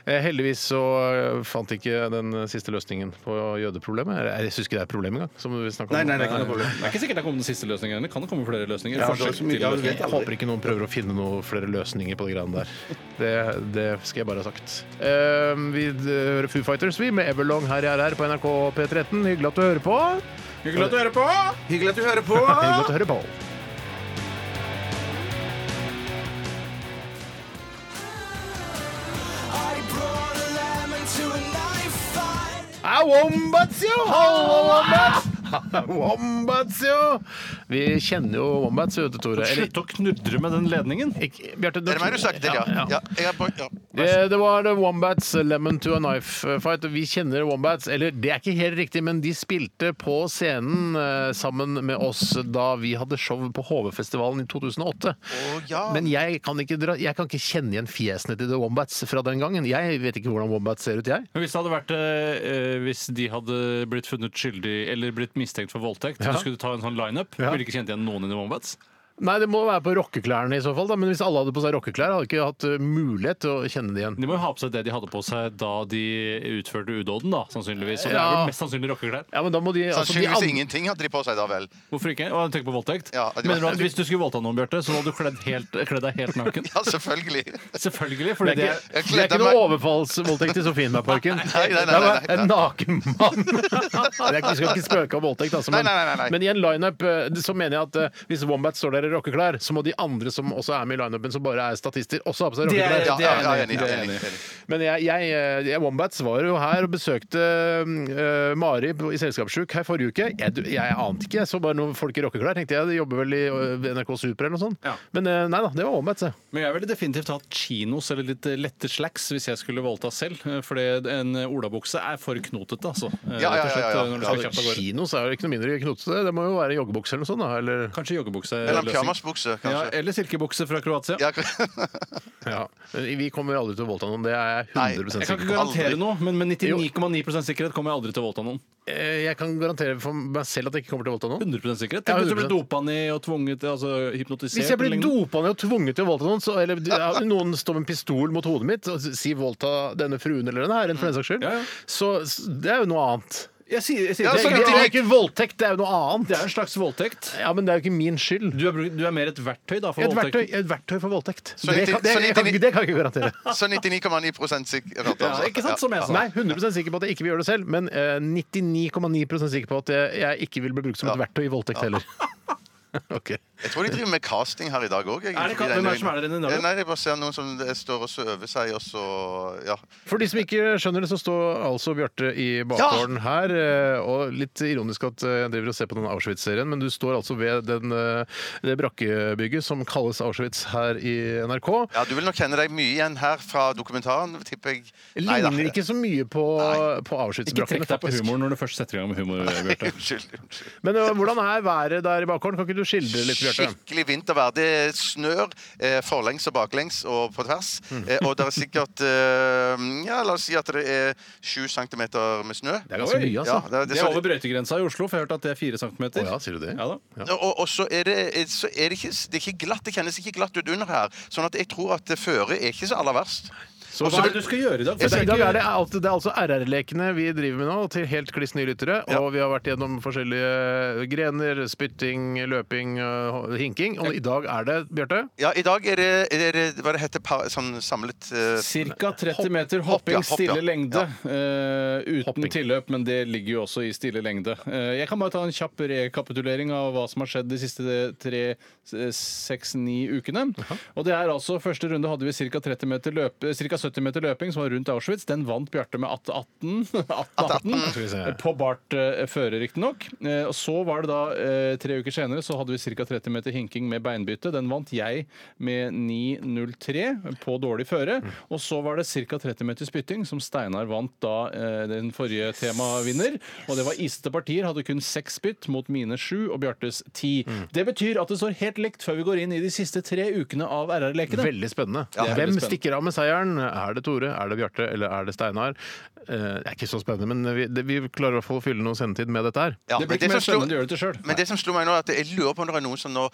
Eh, Heldigvis så eh, fant ikke den eh, siste løsningen på jødeproblemet. Eller, Jeg syns ikke det er et problem engang. Som vi snakket om. Nei, nei, det er ikke noe problem. Det er ikke sikkert det kommer den siste løsningen heller. Det Kan det komme flere løsninger? Ja, det er Forsøk så mye- til ja, du løsninger. vet Jeg håper ikke noen prøver å finne noen flere løsninger på de greiene der. Det, det skal jeg bare ha sagt. Eh, vi eh, hører Foo Fighters vi med Everlong her i RR på NRK P13. Hyggelig at du hører på. Hyggelig at du hører på! Hyggelig at du hører på! Hyggelig at du hører på. Ah, Wombats, jo! Hallo, Wombats! Wombats, jo! Vi kjenner jo Wombats, vet du, Tore. Eller- Slutt å knudre med den ledningen. Ikke- Bjarte, Det er meg du snakker til, ja. Ja, ja. ja. jeg er på- ja. Eh, Det var The Wombats eh, Lemon to a Knife eh, Fight. og Vi kjenner Wombats, eller det er ikke helt riktig, men de spilte på scenen eh, sammen med oss da vi hadde show på HV-festivalen i 2008. Å, ja. Men jeg kan, ikke dra, jeg kan ikke kjenne igjen fjesene til The Wombats fra den gangen. Jeg vet ikke hvordan Wombats ser ut, jeg. Men hvis, det hadde vært, eh, hvis de hadde blitt funnet skyldig eller blitt mistenkt for voldtekt, Ja. så skulle du ta en sånn lineup. Ja. Ville ikke kjent igjen noen i The Wombats. Nei, det må være på rockeklærne i så fall, da. men hvis alle hadde på seg rockeklær, hadde jeg ikke hatt eh, mulighet til å kjenne det igjen. De må jo ha på seg det de hadde på seg da de utførte udåden, da, sannsynligvis. Og det er Ja. vel mest sannsynlig rockeklær. Ja, men da må de, altså, de Sannsynligvis andre- ingenting hadde de på seg da vel. Hvorfor ikke? Og tenk på voldtekt. Ja, de- Mener du at hvis du skulle voldta noen, Bjarte, så hadde du kledd, helt, kledd deg helt naken? Ja, selvfølgelig. Selvfølgelig. Fordi Det det er ikke, det er er, Jeg ikke kledde noe meg- overfallsvoldtekt i Sofienbergparken. nei, nei, nei, Det er bare nei, nei. En naken mann. Det er ikke- Vi skal ikke spøke om voldtekt, altså. Men, Nei, nei, nei, nei. men i en lineup eh, så mener jeg at eh, hvis Wombat står der i rockeklær, så må de andre som også er med i lineupen, som bare er statister, også ha på seg Det er- rockeklær. Ja, det ja, er ja, jeg enig, enig i, det er jeg enig, enig i. enig. Men jeg, jeg, eh, jeg Wombats var jo her og besøkte eh, Mari på- i Selskapssjuk her forrige uke. Jeg, du- jeg ante ikke, jeg så bare noen folk i rockeklær. Tenkte jeg, de jobber vel i eh, NRK Super eller noe sånt. Ja. Men eh, nei da, det var Wombats, det. Men jeg ville definitivt hatt chinos eller litt lette slacks hvis jeg skulle voldta selv. For en olabukse er for knotete, altså. Ja, ja, ja, ja, Rett og ja. slett, når du Ja, skal kjapt av gårde. Kinos er jo ikke noe mindre knotete. Det må jo være joggebukse eller noe sånt, da. Eller Kanskje joggebukse. Eller en løsning. pyjamasbukse, Ja, kanskje. eller silkebukse fra Kroatia. Ja, Ja. Men vi kommer aldri til å voldta noen, det er jeg Nei, 100 jeg Jeg kan ikke sikker på. garantere Aldri. noe, men med 99,9 sikkerhet kommer jeg aldri til å voldta noen. Eh, Jeg kan garantere for meg selv at jeg ikke kommer til å voldta noen. 100 sikkerhet. Ja, Tenk hvis du blir 100%. dopa ned og tvunget, altså hypnotisert. Hvis jeg blir eller lignende. dopa ned og tvunget til å voldta noen, så, eller ja, noen står med en pistol mot hodet mitt og sier 'voldta denne fruen' eller denne herren, for den saks skyld, Ja, ja. så s- det er jo noe annet. Jeg sier, jeg sier, Ja, det, Det så kan er, du det er tenke- ikke voldtekt, det er jo noe annet. det er en slags voldtekt. Ja, men det er jo ikke min skyld. Du er, bru- du er mer et verktøy da, for Et verktøy, voldtekten. et verktøy for voldtekt. Så det, kan, nitti- det, så jeg kan, nittini- det kan jeg ikke garantere. Så 99,9 sikker. altså. Ja, ikke sant, som jeg sa. Nei, 100 sikker på at jeg ikke vil gjøre det selv, men eh, 99,9 sikker på at jeg, jeg ikke vil bli brukt som et verktøy i voldtekt heller. Ok. Jeg tror de driver med casting her i dag òg. Er det ka- hvem er det som er der inne i dag? Eh, Nei, jeg bare ser noen som står og øver seg, og så Ja. For de som ikke skjønner det, så står altså Bjarte i bakgården her. eh, Og litt ironisk at eh, jeg driver og ser på den Auschwitz-serien, men du står altså ved den, eh, det brakkebygget som kalles Auschwitz her i NRK. ja, du vil nok kjenne deg mye igjen her fra dokumentaren, tipper jeg. Nei da. Ligner ikke så mye på, Nei. på Ikke trekk Auschwitz-brakkene, deg på faktisk. humor når du først setter i gang med humor. Bjarte. Unnskyld. unnskyld. Men ø, hvordan er været der i bakgården? Kan ikke du skildre litt, Bjarte? Skikkelig vintervær. Det snør eh, forlengs og baklengs og på tvers. Mm. Eh, og det er sikkert eh, Ja, la oss si at det er sju centimeter med snø. Det er ganske mye, Ja, altså. det, er- Det det er er så- over brøytegrensa i Oslo, for jeg har hørt at det er fire centimeter. Å ja, sier du det? Ja da. Og, og så er det, eh, så er det, ikke, det er ikke glatt. Det kjennes ikke glatt ut under her. Sånn at jeg tror at føret er ikke så aller verst. Så, Og Altså, hva er det du skal gjøre Altså, i dag? Så For I dag er det, alt- det er altså RR-lekene vi driver med nå, til helt kliss nye lyttere. Og vi har vært gjennom forskjellige grener. Spytting, løping, ø, hinking. Og i dag er det, Bjarte Ja, i dag er det, er det hva det heter par, sånn samlet eh, Ca. 30 Hopp- meter hopp, hopping ja, hopp, ja. stille lengde. eh, uten Hopping. tilløp, men det ligger jo også i stille lengde. Eh, jeg kan bare ta en kjapp rekapitulering av hva som har skjedd de siste tre, eh, seks, ni ukene. Og det er altså, Første runde hadde vi ca. 30 meter løp, eh, cirka 70 meter løping, som var rundt Auschwitz. Den vant Bjarte med 18-18. 18-18. Skal vi se. På bart eh, føre, riktignok. Eh, og så var det da eh, tre uker senere så hadde vi ca. 30 meter hinking med beinbytte. Den vant jeg med 9.03 på dårlig føre. Og så var det ca. 30 meter spytting, som Steinar vant da eh, den forrige temavinner. Og det var isete partier. Hadde kun seks spytt mot mine sju og Bjartes ti. Mm. Det betyr at det står helt likt før vi går inn i de siste tre ukene av RR-lekene. Veldig spennende. det er Hvem veldig spennende. stikker av med seieren? Er det Tore, er det Bjarte eller er det Steinar? Eh, Det er ikke så spennende, men vi, det, vi klarer i hvert fall å fylle noe sendetid med dette her. ja, Det men blir ikke mer som slo- spennende å gjøre det sjøl. Men det som slo meg nå, er at jeg lurer på om det er noen som nå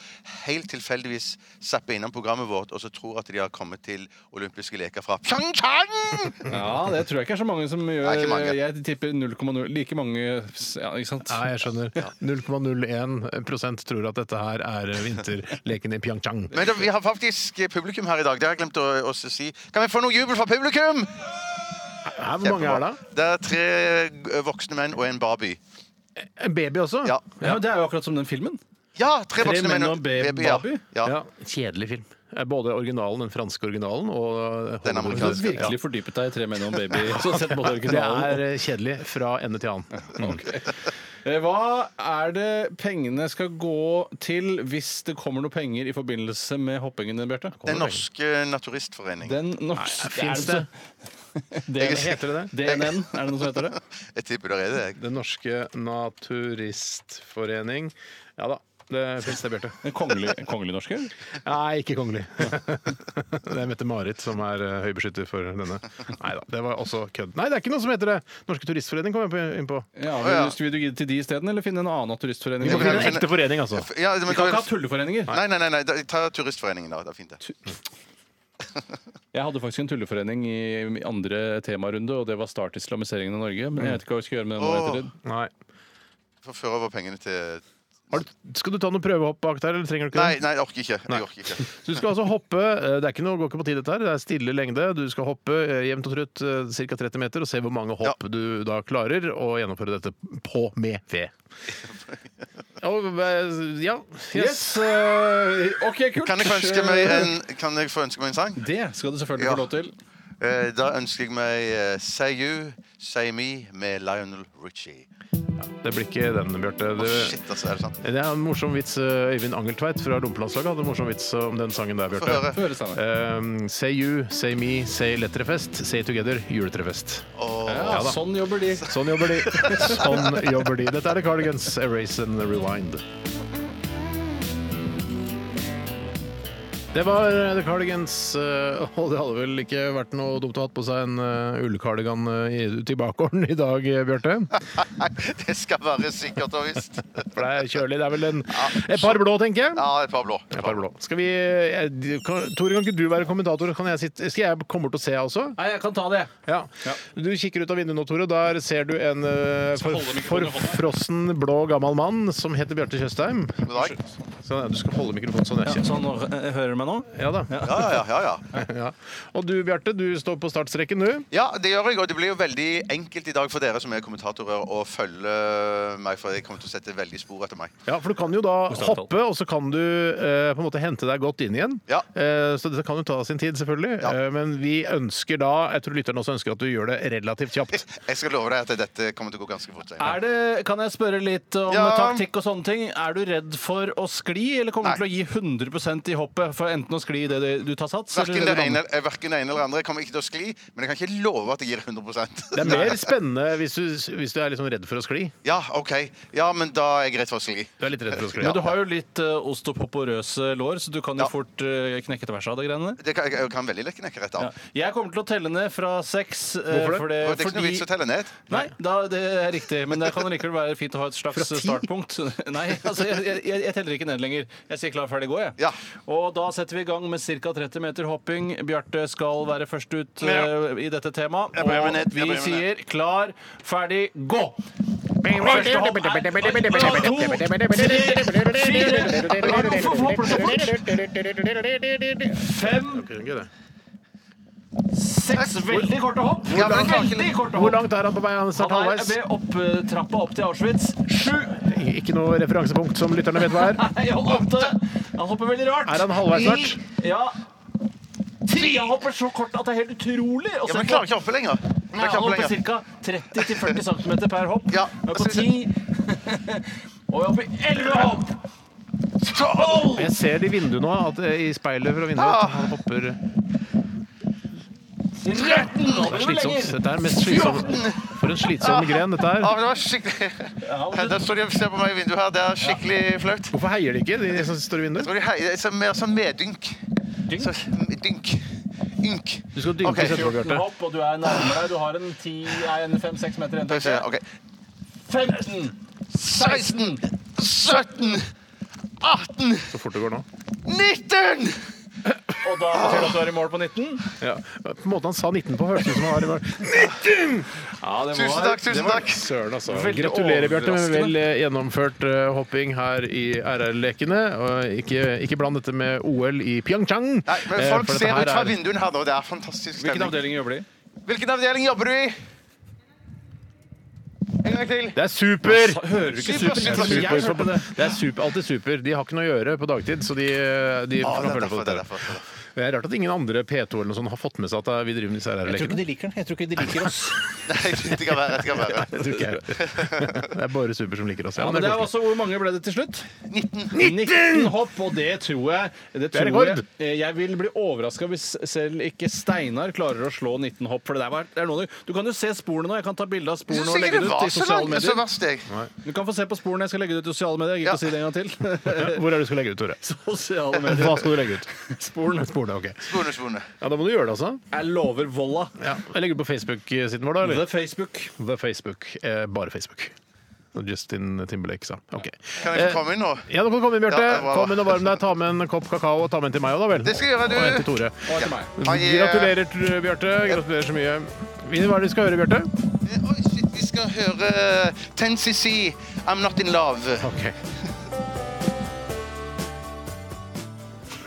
helt tilfeldigvis zapper innom programmet vårt, og så tror at de har kommet til olympiske leker fra Pyeongchang! Ja, det tror jeg ikke er så mange som gjør. Nei, ikke mange. Jeg tipper 0,0 Like mange ja, ikke sant? Nei, jeg skjønner. 0,01 tror at dette her er vinterleken i Pyeongchang. Men da, vi har faktisk eh, publikum her i dag. Det har jeg glemt å, å si. Kan vi få noe jubel fra publikum? Her, hvor mange er det? Det er tre eh, voksne menn og en Barbie. En baby også? Ja. Ja, men Det er jo akkurat som den filmen. Ja, tre Tre voksne menn menn og en baby- ja. Barbie? Ja. Kjedelig film. Eh, Både originalen, den franske originalen og eh, Du Den har amerikanske. Ja. virkelig fordypet deg i Tre menn og en baby. Så sett både Det er originalen og- eh, kjedelig fra ende til annen. Eh, Hva er det pengene skal gå til hvis det kommer noe penger i forbindelse med hoppingen din, Bjarte? Den norske naturistforening. Den norske Fins det? er altså- det så- Heter det det? DNN, er det noe som heter det? Jeg tipper der er det. jeg. Den norske naturistforening. Ja da. Det fins det, Bjarte. Den Kongelig, kongelig norske? Nei, ikke kongelig. Det er Mette-Marit som er eh, høybeskytter for denne. Nei da, det var også kødd. Nei, det er ikke noe som heter det! Norske turistforening kom jeg på- inn på. Ja, Å, ja. vil, du- vil du gidde til de isteden, eller finne en annen turistforening? Vi må finne en ekte forening, altså. Ja, men, Vi kan ikke ha tulleforeninger. Nei, nei, nei, nei, da- ta Turistforeningen, da. Det er fint, det. Jeg hadde faktisk en tulleforening i i andre temarunde, og det var start islamiseringen av Norge. Men jeg vet ikke hva vi skal gjøre med den. nå Åh. etter det. Nei. Få føre over pengene til Har du, skal du ta noen prøvehopp bak der, eller trenger du ikke Nei, det? nei, jeg orker ikke. Jeg orker ikke. Så du skal altså hoppe eh, Det er ikke noe, går ikke på tid, dette her. Det er stille lengde. Du skal hoppe eh, jevnt og trutt ca. 30 meter og se hvor mange hopp du da klarer å gjennomføre dette på med ved. Og, eh, ja. Yes! Yes. eh, OK, kult. Kan jeg få ønske meg en, kan jeg få ønske meg en sang? Det skal du selvfølgelig Ja. få lov til. Eh, Da ønsker jeg meg eh, Say You, Say Me med Lionel Richie. Det blir ikke den, Bjarte. Å, Du- shit, altså, er det sant? Det er en morsom vits. eh, Øyvind Angeltveit fra Lompelandslaget hadde en morsom vits om den sangen der, Få høre. Bjarte. Få høre sammen. Um, say you, say me, say letterfest, say together, juletrefest. Åh, Ja, da. sånn jobber de. Sånn jobber de. Sånn jobber de. Dette er The Cardigans, Erase and Rewind. Det var The Cardigans, eh, og det hadde vel ikke vært noe dumt å ha hatt på seg en eh, ullkardigan eh, i- ute i bakgården i dag, eh, Bjarte. det skal være sikkert og visst. For det er kjølig. Det er vel en, et par blå, tenker jeg. Ja, et par blå. Jeg er bare blå. Skal vi jeg, kan, Tore, kan ikke du være kommentator? Kan jeg sitte, skal jeg komme bort og se altså? også? Nei, jeg kan ta det. Ja. Du kikker ut av vinduet nå, Tore. Der ser du en eh, Skal for- holde mikrofonen i hånda. forfrossen blå gammel mann som heter Bjarte Tjøstheim. God dag. Så, ja, du skal holde mikrofonen sånn. Ja, Jeg sånn, nå hø- hører man meg nå? Ja da. Ja, ja, ja, ja. Ja. Og du Bjarte, du står på startstreken nå. Ja, det gjør jeg, og det blir jo veldig enkelt i dag for dere som er kommentatorer å følge meg, for jeg kommer til å sette veldig spor etter meg. Ja, for du kan jo da Bokstavelig talt. hoppe, og så kan du eh, på en måte hente deg godt inn igjen. Ja. Eh, så det kan jo ta sin tid, selvfølgelig. Ja. Eh, men vi ønsker da, jeg tror lytterne også ønsker at du gjør det relativt kjapt. Jeg skal love deg at dette kommer til å gå ganske fort. Er Steiner. det, kan jeg spørre litt om Ja. taktikk og sånne ting? Er du redd for å skli, eller kommer du til å gi 100 i hoppet for enten å skli i det du- du tar sats? eller Hverken det det du lander? ene, eh, hverken det ene eller det andre. Jeg kommer ikke til å skli, men jeg kan ikke love at jeg gir 100 Det er mer spennende hvis du, hvis du er liksom redd for å skli. Ja, OK. Ja, men da er jeg redd for å skli. Du er litt redd for å skli. Men du har jo litt eh, ostopoporøse lår, så du kan jo Ja. fort eh, knekke til verset av det greiene der. Det kan, jeg kan veldig lett knekke rett av. Ja. Jeg kommer til å telle ned fra seks. eh, Hvorfor det? for det? Og Det er ikke noe vits å telle ned. Nei, da, det er riktig. Men det kan likevel være fint å ha et slags Fra ti? startpunkt. Nei, altså, jeg, jeg, jeg teller ikke ned lenger. Jeg sier klar, ferdig, gå, jeg. Ja. Og da setter vi i gang med ca. 30 meter hopping. Bjarte skal være først ut eh, i dette temaet. Jeg prøver Og ned, jeg vi prøver ned. sier klar, ferdig, gå! Første hopp er- to, tre, fire. Hvorfor hopper du så fort? Fem, seks veldig korte hopp. Ja, men jeg klarer ikke- Veldig korte Hvor hopp. langt er han på vei? Han er snart Han er halvveis. ved opp, eh, trappa opp til Auschwitz. Sju! Ikke noe referansepunkt som lytterne vet hva er. Nei, han åtte! Han hopper veldig rart. Er han halvveis snart? Ni. Ja. Ti! Han hopper så kort at det er helt utrolig. Og så Ja, men jeg klarer ikke å hoppe lenger. Jeg Nei, han klarer ikke å hoppe hopper lenger. ca. 30-40 cm per hopp. Ja, Men på altså, ti Og vi er oppe i 11 hopp! Tolv! Jeg ser det i vinduet nå, at, eh, i speilet fra vinduet. Ah. at Han hopper Det 13! Og er det blir slitsomt. lenger. Dette er mest slitsomme. For en Ah! slitsom gren dette Ja, er. det var skikkelig Ja, Her, Der står de og ser på meg i vinduet her. Det er skikkelig flaut. Hvorfor heier de ikke, de som står i vinduet? Tror de hei- Det er så- mer sånn meddynk. Så, dynk. Ynk. Du skal dynke Ok. etterpå, Bjarte. 14 hopp, og du er nærmere. Du har en 10, nei, en 5-6 meter igjen. Skal vi tenker se. jeg. OK. 15! 16, 17, 18, Så fort det går nå. 19! Og da betyr det at du er i mål på 19. Ja. På måten han sa 19 på, hørtes ut som han var i morgen. Ja, det Tusen takk, tusen takk. Søren, altså. Veldig Gratulerer, Bjarte, med overraskende. vel eh, gjennomført eh, hopping her i RR-lekene. Og ikke, ikke bland dette med OL i Pyeongchang. Nei, men eh, folk for dette ser her ut fra er- vinduene her nå. Det er fantastisk Hvilken stemning. avdeling jobber du i? Hvilken avdeling jobber du i? En gang til. Det er super! Hører du ikke Super, super? super, Jeg super. hørte på det. Det er super, alltid super. De har ikke noe å gjøre på dagtid, så de, de Ah, får det er følge på derfor, det dette. er derfor. det er derfor. Det er rart at ingen andre P2 eller noe sånt har fått med seg at eh, vi driver med disse Jeg tror ikke RR-lekene. de liker den. Jeg tror ikke de liker oss. Nei, det kan være. Det kan være. Det tror ikke jeg. Det er bare super som liker oss. Ja, Ja, men det er koselig. også Hvor mange ble det til slutt? 19. 19 hopp, og det tror jeg Det, tror rekord. Jeg, Eh, jeg vil bli overraska hvis selv ikke Steinar klarer å slå 19 hopp. For det der var, det er noe du, du kan jo se sporene nå. Jeg kan ta bilde av Jeg sporene synes og ikke legge det det var ut i så sosiale langt. Så medier. verst, jeg. Du kan få se på sporene. Jeg skal legge det ut i sosiale medier. Jeg Ja. gidder ikke å si det en gang til. Hvor er det du skal legge ut, Tore? sosiale medier. Hva skal du legge ut? Sporene. Sporene, ok. Spone, spone. Ja, Da må du gjøre det, altså. Jeg lover volla. Ja. Jeg legger på Facebook-siden vår, da? Det eller? er Facebook. The Facebook. Eh, bare Facebook. Og Justin Timberlake sa. Ok. Kan jeg få komme inn nå? Ja, du kan komme inn, Bjarte. Ja, det var- Kom inn og varm deg. Ta med en kopp kakao, og ta med en til meg òg, da vel. Det skal jeg gjøre, du. Og en til Tore. Og til meg. Ai, eh, Gratulerer, Tr- Bjarte. Gratulerer så mye. Vi- Hva er det vi skal høre, Bjarte? eh, Oi, shit, vi skal høre eh, Ten CC, I'm Not In Love. Ok.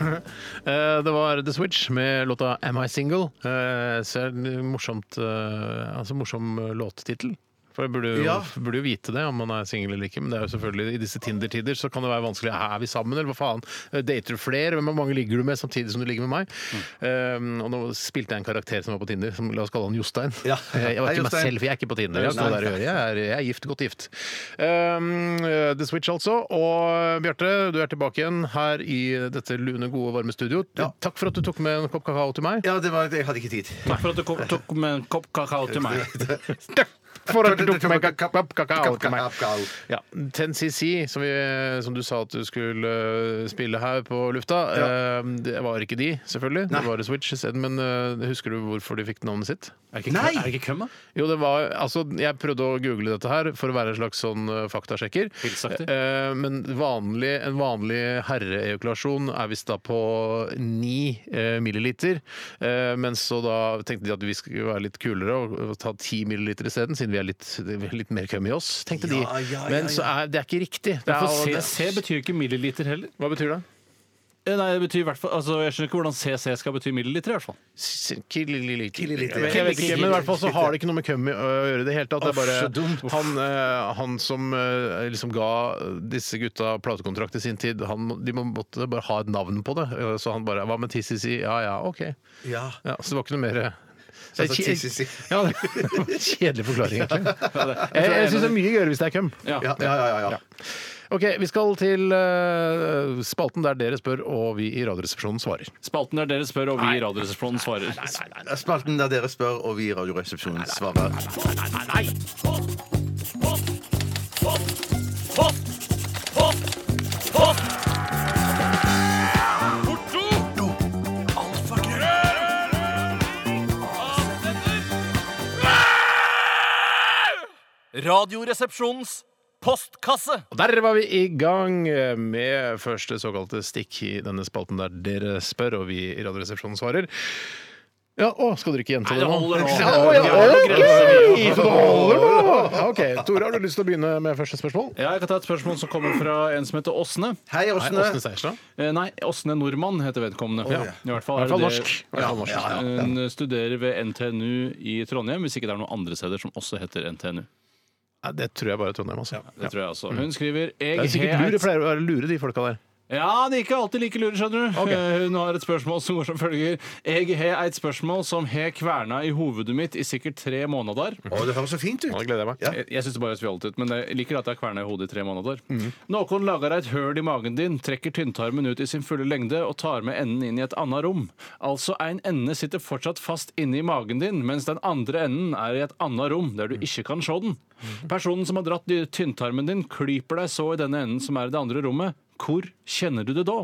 Eh, Det var The Switch med låta 'Am I Single'. Eh, Så er det morsomt, eh, altså morsom låttittel. For jeg burde jo, Ja. burde jo vite det om man er singel eller ikke. Men det er jo selvfølgelig i disse Tinder-tider så kan det være vanskelig. Er vi sammen, eller hva faen? Eh, Dater du flere? Hvor mange ligger du med samtidig som du ligger med meg? Eh, og nå spilte jeg en karakter som var på Tinder, som la oss kalle han Jostein. Ja. Eh, Jeg var Hei, ikke meg Jostein. selv, for jeg er ikke på Tinder. Jeg, har Nei. ikke noe der å gjøre. jeg, er, jeg er gift, godt gift. Um, eh, The Switch, altså. Og Bjarte, du er tilbake igjen her i dette lune, gode, varme studio. Ja. Takk for at du tok med en kopp kakao til meg. Ja, det var, jeg hadde ikke tid. Takk for at du kom- tok med en kopp kakao til meg. Takk for at du tok med en kopp kakao til meg. Kakao. Ja, 10CC, som, vi- som du sa at du skulle eh, spille her på lufta, eh, det var ikke de, selvfølgelig. Det var The Switch isteden. Men eh, husker du hvorfor de fikk navnet sitt? Er det ikke, Nei! er det ikke køm, da? Jo, det var, altså, jeg prøvde å google dette her for å være en slags sånn eh, faktasjekker. Pilsaktig. Eh, men vanlig, en vanlig herreejakulasjon er visst da på 9 eh, milliliter. Eh, men så da tenkte de at vi skulle være litt kulere og, og ta 10 milliliter isteden, siden vi er litt, litt mer køm i oss, tenkte Ja, de. ja, ja, men så er det er ikke riktig. Det er, For CC betyr jo ikke milliliter heller. hva betyr det? Eh, Nei, det betyr i hvert fall altså, Jeg skjønner ikke hvordan CC skal bety milliliter, i hvert fall. Kililiter. Men Jeg vet ikke, men i hvert fall så har det ikke noe med køm å gjøre i det hele tatt. Det er bare han, eh, han som eh, liksom ga disse gutta platekontrakt i sin tid, han, de må- måtte bare ha et navn på det. Eh, Så han bare Hva med TCC? Ja ja, OK. Ja. Ja, så det var ikke noe mer eh, altså, kje- TCC. Ja, det var en Kjedelig forklaring, egentlig. Jeg, jeg syns det er mye gøyere hvis det er køm. Ja, ja, ja, ja, ja. OK, vi skal til eh, spalten der dere spør og vi i Radioresepsjonen svarer. Spalten der dere spør, og vi i Radioresepsjonen svarer. Spalten der dere spør, og vi i Radioresepsjonen svarer. Radioresepsjonens postkasse. Og der var vi i gang med første såkalte stikk i denne spalten der dere spør, og vi i Radioresepsjonen svarer. Ja, å, skal dere ikke gjenta Nei, det det nå? holder nå. Ja, å, ja, ok, så det holder nå! Ok, Tore, har du lyst til å begynne med første spørsmål? Ja, jeg kan ta et spørsmål som kommer fra en som heter Åsne. Hei, Åsne. Åsne Seierstad. Eh, Nei, Åsne Nordmann heter vedkommende. I hvert fall, I hvert fall det- norsk. I hvert Ja, fall norsk. ja, ja. Hun studerer ved NTNU i Trondheim, hvis ikke det er noen andre steder som også heter NTNU. Nei, det tror jeg bare er Trondheim, altså. Det tror jeg også. Hun skriver Det jeg er sikkert har lure, et- pleier å være lure, de folka der. Ja, de er ikke alltid like lure, skjønner du. Ok. Eh, Hun har et spørsmål som går som følger. Jeg har et spørsmål som har kverna i hovedet mitt i sikkert tre måneder. Å, det høres så fint ut. Nå gleder jeg meg. Ja. Jeg, jeg synes det bare høres fjollete ut, men jeg liker at det er kverna i hodet i tre måneder. Noen lager et høl i magen din, trekker tynntarmen ut i sin fulle lengde og tar med enden inn i et annet rom. Altså, en ende sitter fortsatt fast inne i magen din, mens den andre enden er i et annet rom der du ikke kan se den. Personen som har dratt dy- tynntarmen din, klyper deg så i denne enden som er i det andre rommet. Hvor kjenner du det da?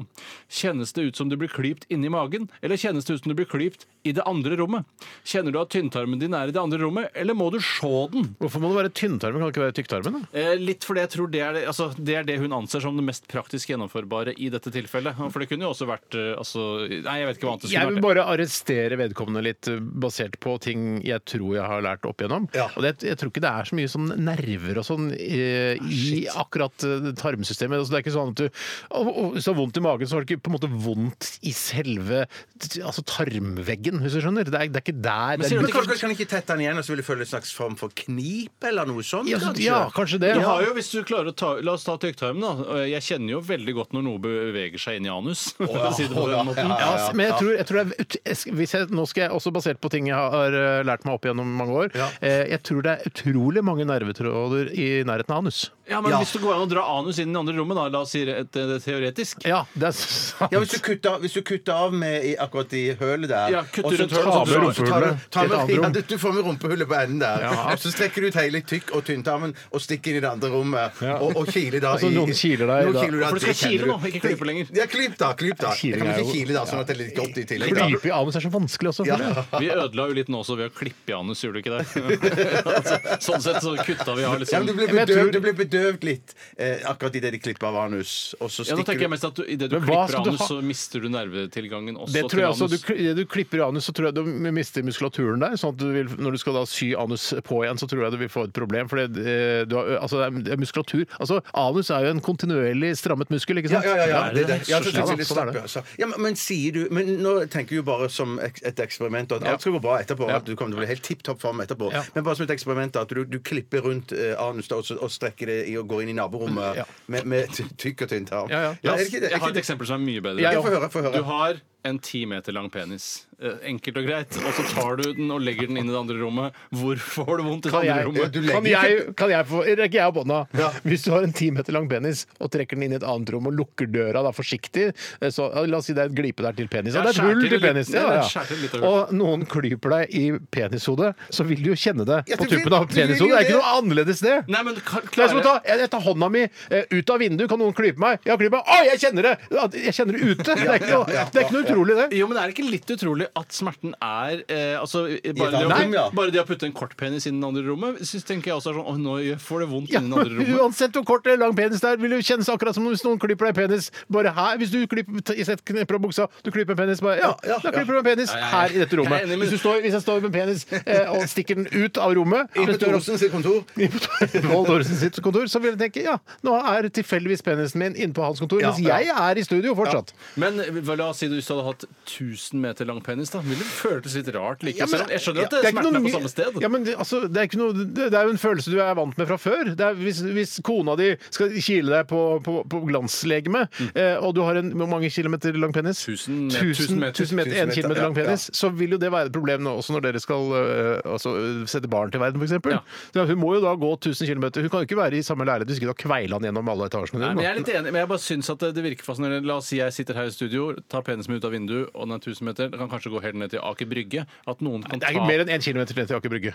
Kjennes det ut som du blir klypt inni magen, eller kjennes det ut som du blir klypt i det andre rommet? Kjenner du at tynntarmen din er i det andre rommet, eller må du se den? Hvorfor må det være tynntarmen? Kan det ikke være tykktarmen? da? Eh, Litt fordi jeg tror det er det, altså, det er det hun anser som det mest praktisk gjennomførbare i dette tilfellet. For det kunne jo også vært eh, altså, Nei, jeg vet ikke hva annet det Jeg vil skulle vært. bare arrestere vedkommende litt eh, basert på ting jeg tror jeg har lært opp igjennom. Ja. Og det, jeg tror ikke det er så mye sånn nerver og sånn eh, Ah, i akkurat eh, tarmsystemet. Altså, det er ikke sånn at du å, å, Hvis du har vondt i magen, så har du ikke på en måte vondt i selve t- altså tarmveggen, hvis du skjønner. Det er, det er ikke der. det er Men litt- kanskje kan ikke tette den igjen, og så vil du føle en slags form for knip eller noe sånt? ja, kanskje? ja, kanskje det. Du har jo, hvis du klarer å ta, La oss ta tykktarmen. da. Eh, Jeg kjenner jo veldig godt når noe beveger seg inn i anus. for å si det på den måten. Ja, s- men jeg tror, jeg tror det er, ut- jeg sk- hvis jeg, nå skal jeg også basert på ting jeg har eh, lært meg opp gjennom mange år. Ja. Eh, jeg tror det er utrolig mange nervetråder i nærheten av anus. Ja, Men Ja. hvis det går an å dra anus inn i det andre rommet, da, la oss si det, et, eh, teoretisk Ja, det er sant. Ja, hvis du kutter, hvis du kutter av med i, akkurat i hølet der Ja, kutter og så ut hølet, tar- så tar du så tar du- rumpehullet tar i et med- annet rom. ja, du- Du får med rumpehullet på enden der. Ja. Og så strekker du ut hele tykk- og tynntarmen og stikker inn i det andre rommet. Og, og kiler da Altså, i- noen kiler deg Noen da. kiler deg, For du skal det kjenner kile du. nå, ikke klype lenger. Ja, klyp da. Klyp da. Kiling Jeg kan er ikke jo- kile da, sånn at det er litt godt i tillegg. da. Klype i anus er så vanskelig også. Ja. føler jeg. Vi ødela jo litt nå også ved å klippe i anus, gjorde du ikke det? altså, sånn sett så kutta vi av Ja, men du liksom blir Men jeg tror- bedøvd, du blir bedøvd litt eh, akkurat idet de klipper av anus. Og så Ja, nå stikker tenker du jeg mest at du, i det du Men hva klipper skal du anus, ha- så mister du nervetilgangen også Det tror jeg til altså, du, anus. kl- du klipper i anus, så tror jeg du mister muskulaturen der. sånn at du vil, Når du skal da sy anus på igjen, så tror jeg du vil få et problem. For det, eh, du har, altså, det er- det er muskulatur Altså, anus er jo en kontinuerlig strammet muskel, ikke Ja, sant? ja, ja, ja. Er Det, det det, det? ja, så Ja, da, tenker jeg litt sånn er slapp, det. ja, så. ja, men, men sier du men Nå tenker jeg jo bare som ek- et eksperiment og at alt skal gå bra etterpå. og At du kommer til å bli helt tipp topp form etterpå. Ja. Men bare som et eksperiment at du, du klipper rundt eh, anus da, og, så- og strekker det i og går inn i naborommet Ja. med, med ty- tykk og tynn tarm. Ja, ja. er det ikke det? Jeg Er har et ikke det? eksempel som er mye bedre. Jeg Ja, Få høre. Få høre. Du har en ti meter lang penis. Eh, Enkelt og greit. Og så tar du den og legger den inn i det andre rommet. Hvor får du vondt i det Kan andre jeg, eh, rommet? du legger kan jeg, kan jeg få, rekker jeg opp hånda? Ja. Hvis du har en ti meter lang penis og trekker den inn i et annet rom og lukker døra da forsiktig eh, så, ja, La oss si det er et glipe der til penis. Ja, det er Ja, et skjær hull til til litt- penis. ja, Ja, skjær til litt av ja. Og hullet. noen klyper deg i penishodet, så vil du jo kjenne det Ja, på du vil- tuppen av du vil penishodet. Det er jo ikke noe annerledes det. Nei, men klar, Det er som å klarer ta, jeg, jeg tar hånda mi eh, ut av vinduet, kan noen klype meg? Ja, klype meg. Å, jeg kjenner det! Ja, Jeg kjenner det ute! Det er ikke noe, det er ikke noe utrolig, det. Jo, men Er det ikke litt utrolig at smerten er eh, altså, et bare, det å, annet rom, ja. bare det å putte en kortpenis inn i det andre rommet synes, tenker jeg også er sånn Å, nå får det vondt Ja, inn i det andre men rommet. uansett hvor kort eller lang penis det er, vil det jo kjennes akkurat som hvis noen klipper deg i penis. Bare her, Hvis du klipper, t- i sett knepper av buksa, du klipper en penis bare, ja, Ja, ja, da ja. klipper du en penis Ja, ja, ja. her i dette Jeg rommet. er enig, men- Hvis, du står, hvis jeg står med en penis eh, og stikker den ut av rommet Inn mens på du er- Thorsen sitt kontor. Inn på Pål Thoresen sitt kontor, så vil jeg tenke ja, nå er tilfeldigvis penisen min inne på hans kontor, Ja, mens ja. jeg er i studio fortsatt. Men vel, la oss si du hvis du hadde hatt 1000 meter lang penis. da Ville det føltes litt rart Ja, likevel. men- jeg skjønner at Det er ikke smerten noe er ny- på samme sted. Ja, men det, altså, det, er ikke noe, det, det er jo en følelse du er vant med fra før. Det er, hvis, hvis kona di skal kile deg på, på, på glanslegeme, eh, og du har en hvor mange kilometer lang penis? Mm. Tusen- tusen tusen, meter. tusen meter, Tusen En meter, kilometer lang ja, ja. penis. Så vil jo det være et problem nå også når dere skal eh, altså, eh, sette barn til verden, f.eks. Ja. Ja. Hun må jo da gå 1000 km. Hun kan jo ikke være i samme lære. Du skal da kveile han gjennom alle etasjene. dine, Nei, men da. jeg er litt enig, men jeg bare syns at eh, det, det virker fascinerende. La oss si jeg sitter her i studio, tar penisen min ut av vinduet, og den er 1000 meter. Den kan kanskje gå helt ned til Aker Brygge. At noen kan Det ta er ikke mer enn 1 km ned til Aker Brygge.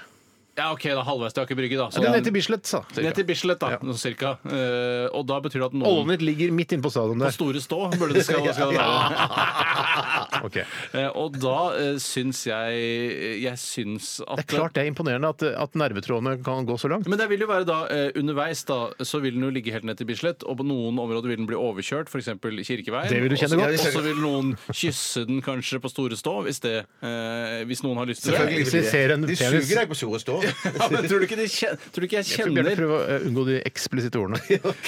Ja, OK, da halvveis til Aker Brygge, da. Så Det er ned til Bislett, sa ned til Bislett, da, Ja. sånn cirka. Eh, og da betyr det at noen Ålnet ligger midt inne på stadion på der. store stå burde det skal, skal det være. Ok. Eh, og da uh, syns jeg Jeg syns at Det er klart det er imponerende at, at nervetrådene kan gå så langt. Men det vil jo være da, eh, underveis da, så vil den jo ligge helt ned til Bislett, og på noen områder vil den bli overkjørt, f.eks. Kirkeveien. Det vil du kjenne Også- godt. Og så vil noen kysse den kanskje på store stå, hvis, det, eh, hvis noen har lyst til Selvfølgelig Hvis det. vi ser en De penis- suger deg på store stå. Ja, men tror du ikke, de kjen, tror du ikke jeg Jeg tror Bjarte kjenner prøver å eh, unngå de eksplisitte ordene.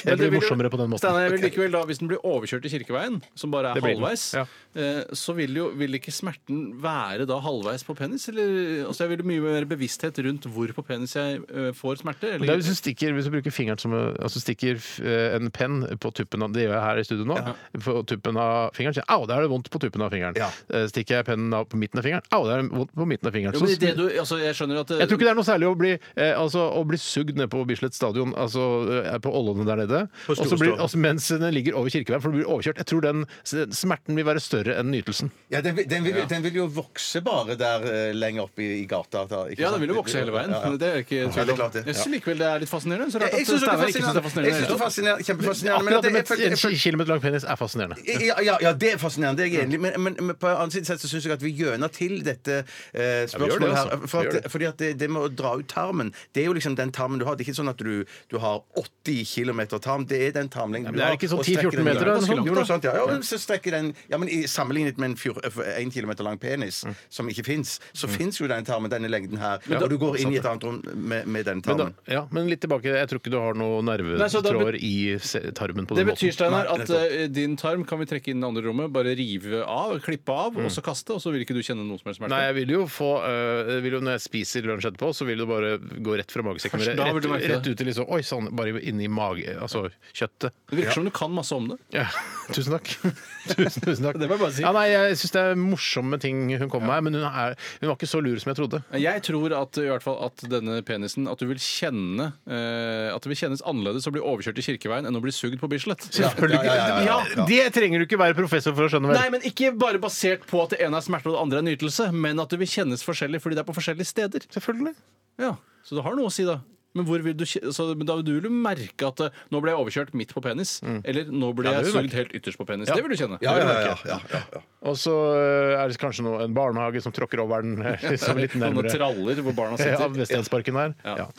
Det blir morsommere på den måten. Steinar, jeg vil likevel da, Hvis den blir overkjørt i Kirkeveien, som bare er Det blir den, halvveis, ja. eh, så vil jo vil ikke smerten være da halvveis på penis? Eller, altså jeg vil jo mye mer bevissthet rundt hvor på penis jeg eh, får smerte? Men Eller, Det er hvis du stikker, hvis du bruker fingeren som eh, altså stikker eh, en penn på tuppen av Det gjør jeg her i studio nå. På tuppen av fingeren. sier jeg, Au, da er det vondt på tuppen av fingeren. Ja. Eh, Stikker jeg pennen av på midten av fingeren. Au, da er det vondt på midten av fingeren. jo, Så- men i det du, altså, jeg skjønner at eh, Jeg tror ikke det er noe særlig å bli, eh, altså, å bli sugd ned på Bislett stadion, altså eh, på Ålåne der nede, På Storstå. og så blir- altså, mens den ligger over kirkeveien, for du blir overkjørt. Jeg tror den s- smerten vil være større enn nytelsen. Ja, den, vil- den, vil, den vil jo vokse bare der eh, lenger oppe i, i gata. Da, ikke Ja, sant? den vil jo vokse hele veien. Ja, ja. Det er jeg ikke i Ja, tvil det er om. klart det. Jeg syns likevel det er litt fascinerende. Så rart Jeg at syns det Steinar er ikke syns det er fascinerende. Jeg synes det er fascinerende. fascinerende. Kjempefascinerende. men Akkurat det det- jeg med følte- jeg en følte- 10 km lang penis er fascinerende. Ja, ja, ja, det er fascinerende. Det er jeg enig i. Men, men, men på annen side så syns jeg at vi gjøner til dette eh, spørsmålet altså. her. For Vi gjør at, det. fordi at det, det med å dra ut tarmen, det er jo liksom den tarmen du har. Det er ikke sånn at du, du har 80 km tarm. Det er den tarmlengden men du det er har. ikke sånn og strekker 10-14 den ut. meter, da, Jo, noe sånt. noe sånt, ja. ja, men så strekker den Ja, men i, Sammenlignet med en 1 km lang penis, Mm. som ikke fins, så fins jo den tarmen, denne lengden her. og du går inn i et annet rom med, med den Sånn. Men, da, tarmen. ja, men litt tilbake, jeg tror ikke du har noen Nei, så da nervetråder i se- tarmen på Det den betyr måten. Steinar, Nei, at eh, din tarm kan vi trekke inn i det andre rommet, bare rive av, klippe av, Mm. og så kaste, og så vil ikke du kjenne noe som helst smerte. Nei, jeg vil jo få øh, jeg vil jo, Når jeg spiser lunsj etterpå, så vil det bare gå rett fra magesekken. Kanskje Rett, da vil du merke rett, det. ut i liksom Oi sann, bare inni mage... Altså kjøttet. Det virker som du kan masse om det. Ja, tusen takk. Tusen, tusen takk. Det må jeg bare si. Ja, nei, jeg syns det er morsomme ting hun kom med, men hun, er, hun var ikke så lur som jeg trodde. Jeg tror at, i hvert fall, at denne penisen At du vil kjenne eh, At det vil kjennes annerledes å bli overkjørt i Kirkeveien enn å bli sugd på Bislett. Ja, ja, ja, ja, ja. Det trenger du ikke være professor for å skjønne. Nei, men Ikke bare basert på at det ene er smerte og det andre er nytelse, men at det vil kjennes forskjellig fordi det er på forskjellige steder. Selvfølgelig. Ja, Så det har noe å si, da. Men, hvor vil du, kje- så, men da vil du merke at eh, nå ble jeg overkjørt midt på penis. Mm. Eller nå ble Ja, det jeg vil du sugd helt ytterst på penis. Det vil du kjenne. Ja, ja, ja, ja, ja, ja. Og så eh, er det kanskje noe, en barnehage som tråkker over den eh, liksom litt Noen nærmere. traller hvor barna eh, Av sitter. Vestlandsparken her. Ja. Ja.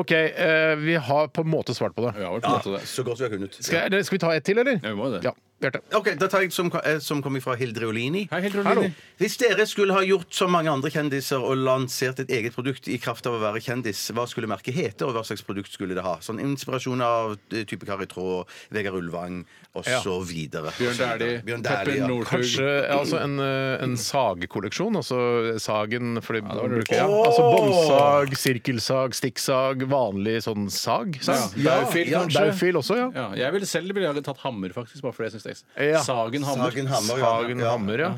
OK, eh, vi har på en måte svart på det. Ja, vel, på en måte det. Så godt vi har kunnet. Skal, jeg, skal vi ta et til, eller? Ja, vi må jo det. Ja, Bjarte. OK, da tar jeg et som, eh, som kommer fra Hildre Olini. Hei, Hildur Lini. Hvis dere skulle ha gjort som mange andre kjendiser og lansert et eget produkt i kraft av å være kjendis, hva skulle merket hete, og hva slags produkt skulle det ha? Sånn inspirasjon av eh, type Kari Traa, Vegard Ulvang og Ja. så videre. Bjørn Dæhlie, Bjørn Petter Dæhlie, ja. Northug. Kanskje ja, altså en, eh, en sagkolleksjon. Altså sagen fordi det var lurt. bruker, ja. Åh! Altså båndsag, sirkelsag, stikksag, vanlig sånn sag. sag. Ja, Daufil, kanskje? Daufil også, ja. Ja, jeg ville selv ville jeg tatt hammer, faktisk. Bare fordi jeg synes det er ekstra. Ja. Sagen hammer. Sagen Hammer. ja. Sagen Ja. Hammer, ja.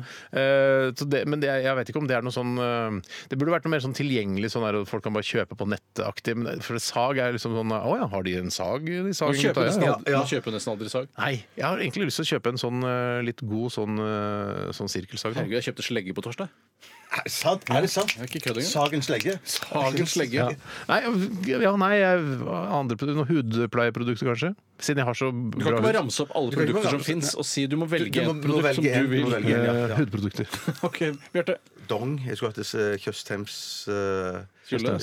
Eh, så det, men det, jeg vet ikke om det er noe sånn eh, Det burde vært noe mer sånn tilgjengelig, sånn der, at folk kan bare kjøpe på nettet-aktig. men det- For sag er liksom sånn Å ja, har de en sag? De Man sagen, kjøper, gutta?» nesten ja. aldri, Ja, ja. man kjøper nesten aldri sag. Nei, jeg har egentlig lyst til å kjøpe en sånn eh, litt god sånn, eh, sånn sirkelsag. da. Herregud, jeg kjøpte slegge på torsdag. Er det sant? Er det sant? er ikke kødd engang. Sagens legge. Hagens legge. Ja. Nei, ja, nei jeg- andre produ- noen hudpleieprodukter kanskje? Siden jeg har så Du kan bra ikke bare hud. ramse opp alle Du kan ikke bare produkter som ramse opp- fins og si du må velge Du- du må- et du må produkt som velge en, du du må vil. velge. Ja, ja. Eh, hudprodukter. Ok, Bjarte. Dong. Jeg skulle hatt disse eh, Tjøstheims Skulle.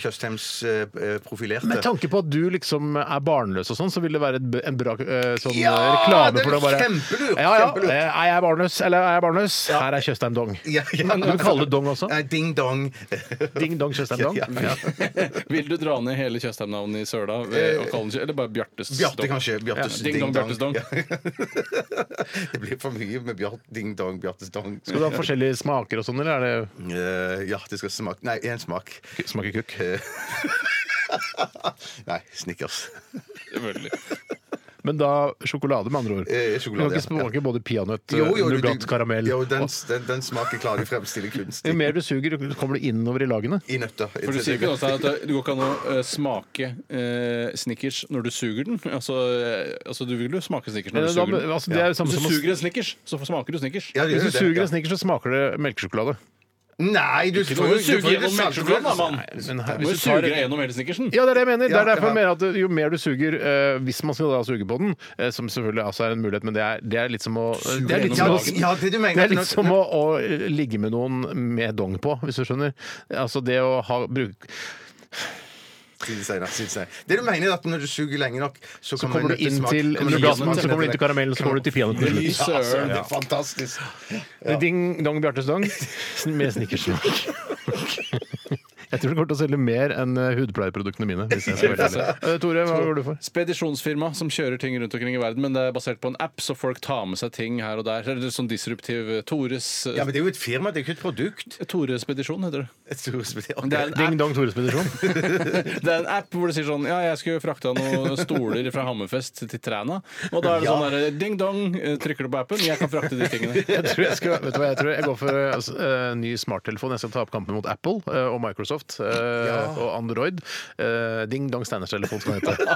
Tjøstheims eh, profilerte. Med tanke på at du liksom er barnløs og sånn, så vil det være et, b- en bra eh, sånn Ja, reklame det er for det å bare kjempelurt, Ja, ja, kjempelurt. eh, Er jeg barnløs, eller er jeg barnløs? Her er Tjøstheim Dong. Ja, ja. Du vil kalle det Dong også? Nei, Ding dong. Ding Dong Tjøstheim Dong? Ja, ja. Vil du dra ned hele Tjøstheim-navnet i Søla? ved å kalle den- Eller bare Bjartes Bjarte, dong? kanskje. Bjartes Ja, ding dong, Bjartes dong. Ja. det blir for mye med Bjart, ding dong, Bjartes dong. Skal du ha forskjellige smaker og sånn, eller er Eh, ja, det skal smake Nei, én smak. det smaker kukk? Eh. Nei, Snickers. Selvfølgelig. Men da sjokolade, med andre ord. Eh, sjokolade, du kan ikke ja. smake både peanøtt, eh, Jo, jo, du- nougat, karamell Jo, den, Og den, den smaker klarer de fremstille kunst i. Jo mer du suger, jo kommer du innover i lagene. I nøtter. For du sier ikke også at det det går ikke an å eh, smake eh, Snickers når du suger den? Altså, eh, altså du vil jo smake Snickers når du Da- suger den. altså, det er jo samme Hvis som du å- suger en Snickers, så smaker du Snickers. Ja, Hvis det gjør du jo det, suger ja. en snickers, så smaker det melkesjokolade. Nei, du Du får må jo jo suge selvfølgelig gjennom salte- melkesjokoladen, da, mann! Men her, Du må jo hvis du suge tar deg gjennom hele Snickersen. ja, det er det jeg mener. Det Ja, er derfor ja. jeg mener at Jo mer du suger, eh, hvis man skal da suge på den, eh, som selvfølgelig altså er en mulighet, men det er, det er litt som å Det er litt som, Ja, å, ja, det du det mener er litt som å, å ligge med noen med dong på, hvis du skjønner. Altså det å ha bruk, Si det senere, si det senere. Det du mener er at når du suger lenge nok, så, Så kommer du nøttesmak- inn til kommer du- nougaten, nøttesmak- så kommer du inn til karamellen, så kommer du til peanøtten til Ja, slutt. søren, det er fantastisk. Ding dong Bjartes dong med snickersmak. Jeg tror det kommer til å selge mer enn eh, hudpleieproduktene mine. Hvis jeg skal være helt ærlig. Eh, Tore, hva går du for? Spedisjonsfirma som kjører ting rundt omkring i verden, men det er basert på en app, så folk tar med seg ting her og der. Eller sånn disruptiv eh, Tores Ja, men det er jo et firma, det er ikke et produkt. Torespedisjon heter det. Et storspill- Men det er en app Ding dong Tores spedisjon. Det er en app hvor det sier sånn Ja, jeg skulle frakta noen stoler fra Hammerfest til Træna. Og da er det Ja. sånn der, ding dong, eh, trykker du på appen, jeg kan frakte de tingene. Jeg tror jeg, skal, vet du hva, jeg tror jeg går for eh, altså, eh, ny smarttelefon. Jeg skal ta opp kampen mot Apple eh, og Microsoft eh, og Android. Eh, Ding dong Steiners-telefon skal den hete.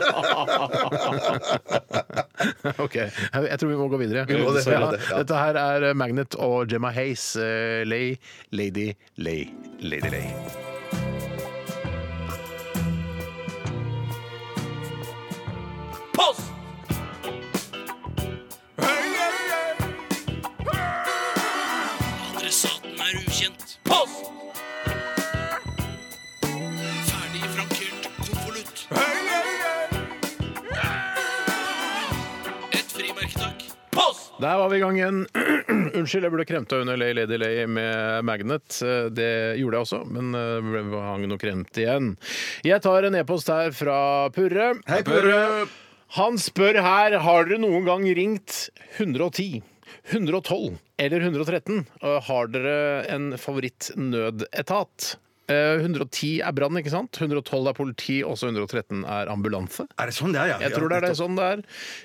OK. Jeg jeg tror vi må gå videre. må det, vi må Ja, det, ja. Dette her er eh, Magnet og Gemma Hayes, eh, Lay, Lady, Lay, Lady Lay. Adressaten er ukjent. Post! Ferdig frankert konvolutt. Et frimerke, takk. Post! Der var vi i gang igjen. Unnskyld, jeg burde kremta under Lay Lady Lay med Magnet. Eh, Det gjorde jeg også, men eh, det ble- hang noe kremt igjen. Jeg tar en e-post her fra Purre. Hei, Purre! Han spør her har dere noen gang ringt 110, 112 eller 113. Og Har dere en favorittnødetat? Eh, 110 er brann, ikke sant? 112 er politi, også 113 er ambulanse. Er det sånn det er, ja? Jeg tror det er det sånn det er.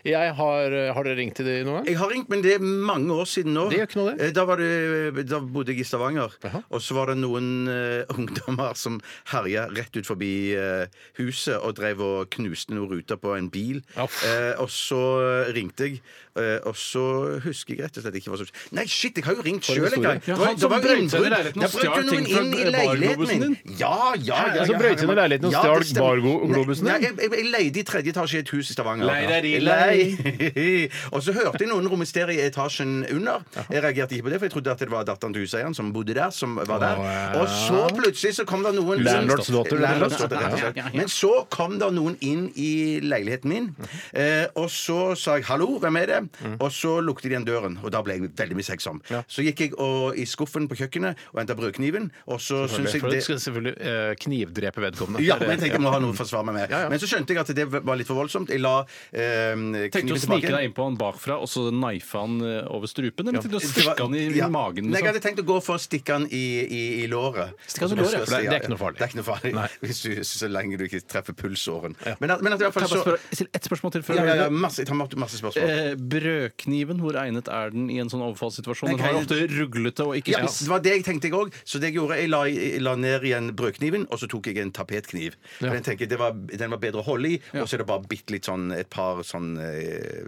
Jeg har, eh, har dere ringt til de noen gang? Jeg har ringt, men det er mange år siden nå. Det gjør ikke noe, det. Eh, Da, var det, da bodde jeg i Stavanger, og så var det noen eh, ungdommer som herja rett ut forbi eh, huset og drev og knuste noen ruter på en bil. Aff. Eh, og så ringte jeg, eh, og så husker jeg rett og slett ikke hva som skjedde. Nei, shit, jeg har jo ringt sjøl en historie. gang! Ja, Det var- han det som var jo brøt seg inn i innbrudd. leiligheten og Da brøt stjal jo noen ting fra inn i barglobusen leiligheten min. Ja, ja, ja. Altså, ja, brøt ja, inn i ja. leiligheten og Ja, stjal det stemmer. barglobusen Nei, din? jeg, jeg, jeg leide i tredje etasje i et hus i Stavanger. Leideri, lei. og så hørte jeg noen romstere i etasjen under. Jeg reagerte ikke på det, for jeg trodde at det var datteren til huseieren som bodde der. Som var der. Å, ja. Og så plutselig så kom det noen Landlords daughter, rett og slett. Landlords daughter, rett og slett. Men så kom det noen inn i leiligheten min, eh, og så sa jeg 'hallo, hvem er det?' Mm. Og så lukket de igjen døren, og da ble jeg veldig mistenksom. Så gikk jeg og, i skuffen på kjøkkenet og henta brødkniven, og så syns jeg For du det skal selvfølgelig eh, knivdrepe vedkommende. ja, men jeg tenkte jeg må ha noe å forsvare meg med. Ja, ja. Men så skjønte jeg at det var litt for voldsomt. Jeg la eh, Tenkte du kniven å snike tilbake. deg innpå han bakfra og så knife han eh, over strupen? Eller tenkte du å Det var- stikke han i ja. magen? Nei, jeg Liksom? hadde tenkt å gå for å stikke han i, i, i låret. Stikke han i låret, for det- Ja, det er ikke noe farlig. Det er ikke noe farlig Hvis du, Så lenge du ikke treffer pulsåren. Men, at- men at i hvert Kan fall jeg bare så spørre, still ett spørsmål til før ja, jeg ja, gjør ja, det? masse, Jeg tar masse, masse spørsmål. Eh, Brødkniven, hvor egnet er den i en sånn overfallssituasjon? Den Nei, har kan ofte ruglete og ikke Ja, spiss. det var det jeg tenkte, jeg òg. Så det jeg gjorde, jeg la, jeg la ned ned igjen brødkniven, og så tok jeg en tapetkniv. For Den tenker jeg, det var, den var bedre å holde i, og så er det bare bitte litt sånn et par sånn eh,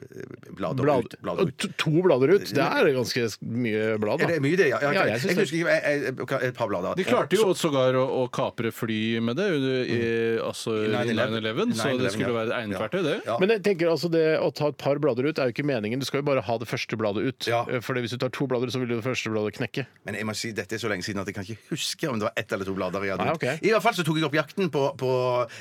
blader, Blad, ut. Blader ut. to, to blader ut. Det er ganske mye blad, Er det da. mye, det? Ja, ja, Ja, jeg jeg, synes det. husker ikke jeg, jeg, Et par blader. De klarte jo sågar å, å kapre fly med det, i, Mm. altså i 9/11. 9-11, så 9/11, det skulle ja. være et egnet Ja. verktøy, det. Ja. Men jeg tenker altså det å ta et par blader ut er jo ikke meningen. Du skal jo bare ha det første bladet ut. Ja. For hvis du tar to blader ut, så vil jo det første bladet knekke. Men jeg må si, dette er så lenge siden at jeg kan ikke huske om det var ett eller to blader. jeg hadde Nei, ut. Ah, ok. I hvert fall så tok jeg opp jakten på, på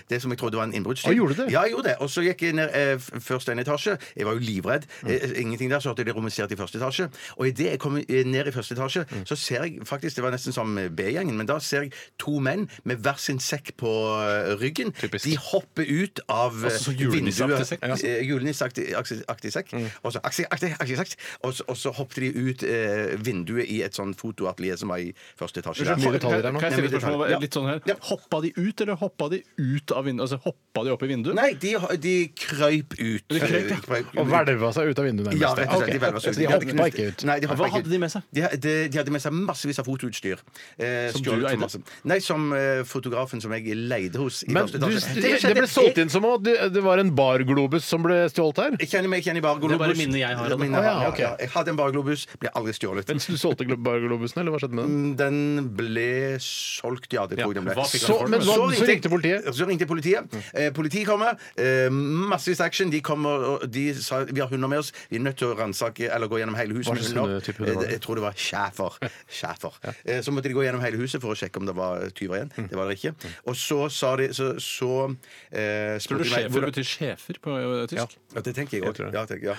det som jeg trodde var en innbruddstyv. Å, gjorde du det? Ja, jeg gjorde det. Og så gikk jeg ned eh, f- først en etasje. Jeg var jo livredd. Mm. Eh, ingenting der. Så hadde jeg det romansert i første etasje. Og idet jeg kom eh, ned i første etasje, Mm. så ser jeg faktisk Det var nesten som B-gjengen, men da ser jeg to menn med hver sin sekk på eh, ryggen. Typisk. De hopper ut av eh, Altså, så julenisseaktig vinduet. sekk. Ja. Eh, Julenisseaktig aktig- aktig sekk. Og så aktig- aktig- aktig sekk. Og så- og så hoppet de ut eh, vinduet i et sånn fotoatelier som var i første etasje. Kan Mye Der. detaljer her nå. kan jeg stille et Ja. spørsmål litt sånn her? Ja. Hoppa de ut, eller hoppa de ut av vinduet? Altså, hoppa de opp i vinduet? Nei, de, de krøyp ut. De krøyp, ja. Og hvelva seg ut av vinduet, nærmest. Ja, rett og slett. De Ok. velva seg ut. Så de hadde hoppa knust- ikke ut. Nei, de hoppa Hva ikke hadde ut. de med seg? De, de, de hadde med seg massevis av fotoutstyr. Eh, Som du stjålet for eide? masse- Nei, som eh, fotografen som jeg leide hos. i Men første du, etasje. det, det ble solgt inn som at det- det var en barglobus som ble stjålet her. Jeg kjenner meg ikke igjen i Det barglobus. er bare minnet jeg har av det. Minnet Å, ja, har, ja, ok. ja. Jeg hadde en barglobus, ble aldri stjålet. Men Du solgte glo- barglobusen, eller hva skjedde med den? Mm, Den ble solgt, ja. Det tror jeg den ble. Hva fikk Så, han for men det? hva- så ringte politiet? Mm. Så ringte politiet. Eh, politiet kommer. Eh, massevis action. De kommer og de sa vi har hunder med oss. Vi er nødt til å ransake eller gå gjennom hele huset. Hva med slags hunder." hundetype det var? Eh, Jeg tror det var schæfer. Schæfer. Eh, så måtte de gå gjennom hele huset for å sjekke om det var tyver igjen. Det var det ikke. Og så sa de Så, så eh, Tror du spurte de meg sjefer betyr sjefer på ø, tysk? Ja, det tenker jeg tror òg. det. Ja, tenker- ja.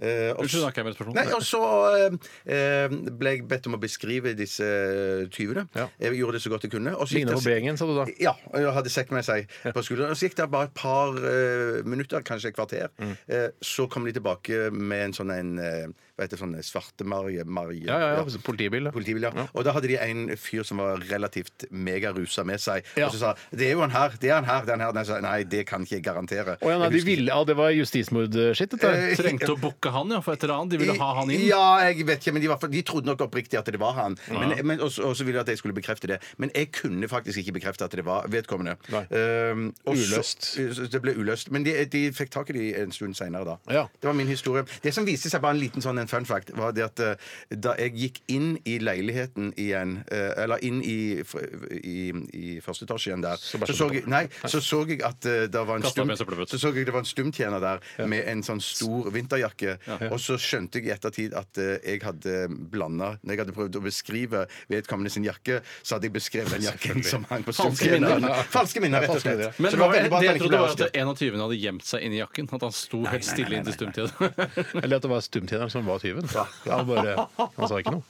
Eh, og Unnskyld, så- da kan jeg med et spørsmål. Nei, og så eh, eh, ble jeg bedt om å beskrive disse eh, tyvene. Ja. Jeg gjorde det så godt jeg kunne. Og så gikk Ligna på det- B-gjengen, sa du da. ja, og jeg hadde sekk med seg på skulderen. Og Så gikk det bare et par eh, minutter, kanskje et kvarter. Mm. Eh, så kom de tilbake med en sånn en eh, Hva heter det, sånn svartemarje? Marje? Ja, ja, ja. Politibil. da. Politibil, ja. Og da hadde de en fyr som var relativt megarusa med seg. Ja. Og så sa 'Det er jo han her, det er han her, det er han her'. Nei, jeg sa, Nei, det kan ikke jeg garantere. Å ja, nei, de Jeg husker- Eh, ville, ja, det var justismordskitt, dette. her. Trengte å booke han, ja, for et eller annet. De ville ha han inn. Ja, jeg vet ikke, men de, var, de trodde nok oppriktig at det var han. Men, men, og så- og så ville de at jeg skulle bekrefte det. Men jeg kunne faktisk ikke bekrefte at det var vedkommende. Ehm, og så- Uløst. det ble uløst. Men de, de fikk tak i de en stund seinere, da. Ja. Det var min historie. Det som viste seg, bare en liten sånn en fun fact, var det at eh, da jeg gikk inn i leiligheten igjen, eh, eller inn i, fr- i, i første etasje igjen der, så, så, jeg, nei, så så jeg at eh, det var en Kastet stum, med søppelbøtte. så så jeg det var en stumtjener der med en sånn stor vinterjakke. Og så skjønte jeg i ettertid at eh, jeg hadde blanda Når jeg hadde prøvd å beskrive vedkommende sin jakke, så hadde jeg beskrevet den jakken som hang på stumtjeneren. minner. Falske minner, rett og Falske minner, slett. ja. Men det, Så det var veldig bra det at jeg han ikke trodde ble var avslørt. at en av tyvene hadde gjemt seg inni jakken. At han sto helt stille inntil stumtiden. Eller at det var stumtjeneren som var tyven. Han, bare, han sa ikke noe.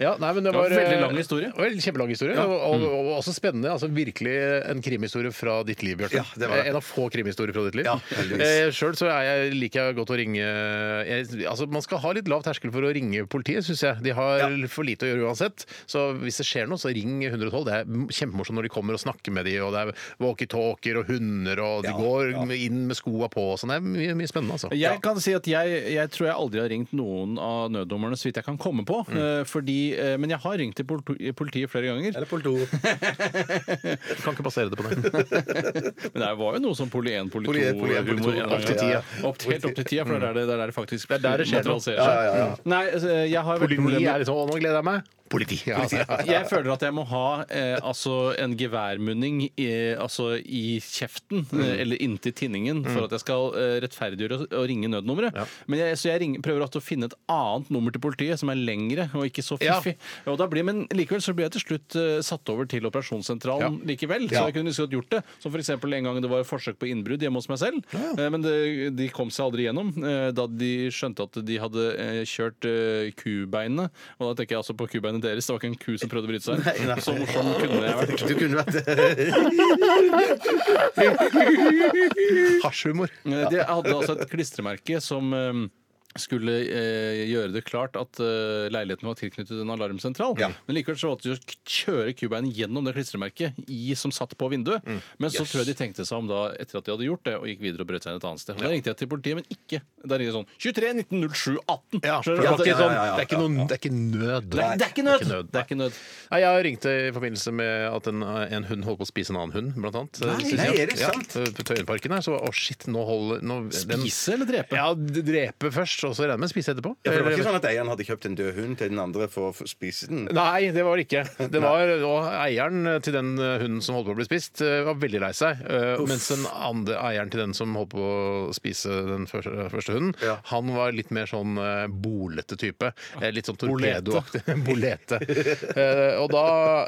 Ja, nei, men det, Det var var, en veldig eh, lang historie. det var en Kjempelang historie. Og, og, og også spennende. altså Virkelig en krimhistorie fra ditt liv, Bjarte. Ja, det var det. En av få krimhistorier fra ditt liv. Ja, heldigvis. eh, Sjøl så er jeg, liker jeg godt å ringe jeg, altså Man skal ha litt lav terskel for å ringe politiet, syns jeg. De har for lite å gjøre uansett. Så hvis det skjer noe, så ring 112. Det er m- kjempemorsomt når de kommer og snakker med de, og det er walkietalkier og hunder, og de går inn med skoa på og sånn. Det er mye, mye spennende, altså. Jeg kan si at jeg, jeg tror jeg aldri har ringt noen av nødnummerne så vidt jeg kan komme på. eh, Fordi, eh, men jeg har ringt til politi- politiet flere ganger. Mm. Eller polito. Du kan ikke basere det på det. Men det var jo noe som poli 1, poli Poli 2 1, poli 1, poli 2, humor. opp til ti, ja. Opp, helt opp til tida, for det er der det, det, er der det faktisk det er der det skjer noe. materialiserer seg. Nei, altså, jeg har veldig Politi problemer er liksom Å, nå gleder jeg meg. Politi. Ja, altså. jeg føler at jeg må ha eh, altså en geværmunning i, altså i kjeften, Mm. eh, eller inntil tinningen, for at jeg skal eh, rettferdiggjøre å- å ringe nødnummeret. Men jeg, så jeg ringer, prøver alltid å finne et annet nummer til politiet som er lengre og ikke så Ja. fiffig. Og da blir, men likevel så blir jeg til slutt eh, satt over til operasjonssentralen likevel. Så jeg kunne liksom godt gjort det. Som f.eks. en gang det var forsøk på innbrudd hjemme hos meg selv. Eh, men det, de kom seg aldri gjennom eh, da de skjønte at de hadde eh, kjørt eh, kubeinene. Og da tenker jeg altså på kubeinet deres. Det var ikke en ku som prøvde å bryte seg. Nei, nei. Så morsom kunne jeg vært. Du kunne vært Hasjhumor. Eh, De hadde altså et klistremerke som eh, skulle eh, gjøre det klart at eh, leiligheten var tilknyttet en alarmsentral. Ja. Men likevel så valgte de å kjøre kubeinet gjennom det klistremerket i, som satt på vinduet. Men så tror jeg de tenkte seg om da etter at de hadde gjort det, og gikk videre og brøt seg inn et annet sted. Og Da ringte jeg til politiet, men ikke. Da ringte jeg sånn 23 1907 18. Ja, for det Skjønner du? er ikke At det- ja, sånn, ja, ja, det er ikke noen- det er ikke nød. Nei, det er ikke nød! Det er ikke nød. Nei, jeg ringte i forbindelse med at en, en hund holdt på å spise en annen hund, blant annet. Nei, nei, er det sant? Ja, på Tøyenparken her, så var å shit, nå holder nå, den- Spise eller drepe? Ja, d- drepe først, og så regner jeg med å spise etterpå. Ja, for det var ikke Eller- sånn at eieren hadde kjøpt en død hund til den andre for å spise den? Nei, det var det ikke. Det var, og eieren til den hunden som holdt på å bli spist, eh, var veldig lei seg. eh, Mens den andre eieren til den som holdt på å spise den første, første hunden, Ja. han var litt mer sånn eh, bolete type. Eh, Litt sånn Bolete. torpedoaktig. Bolete. Eh, Og da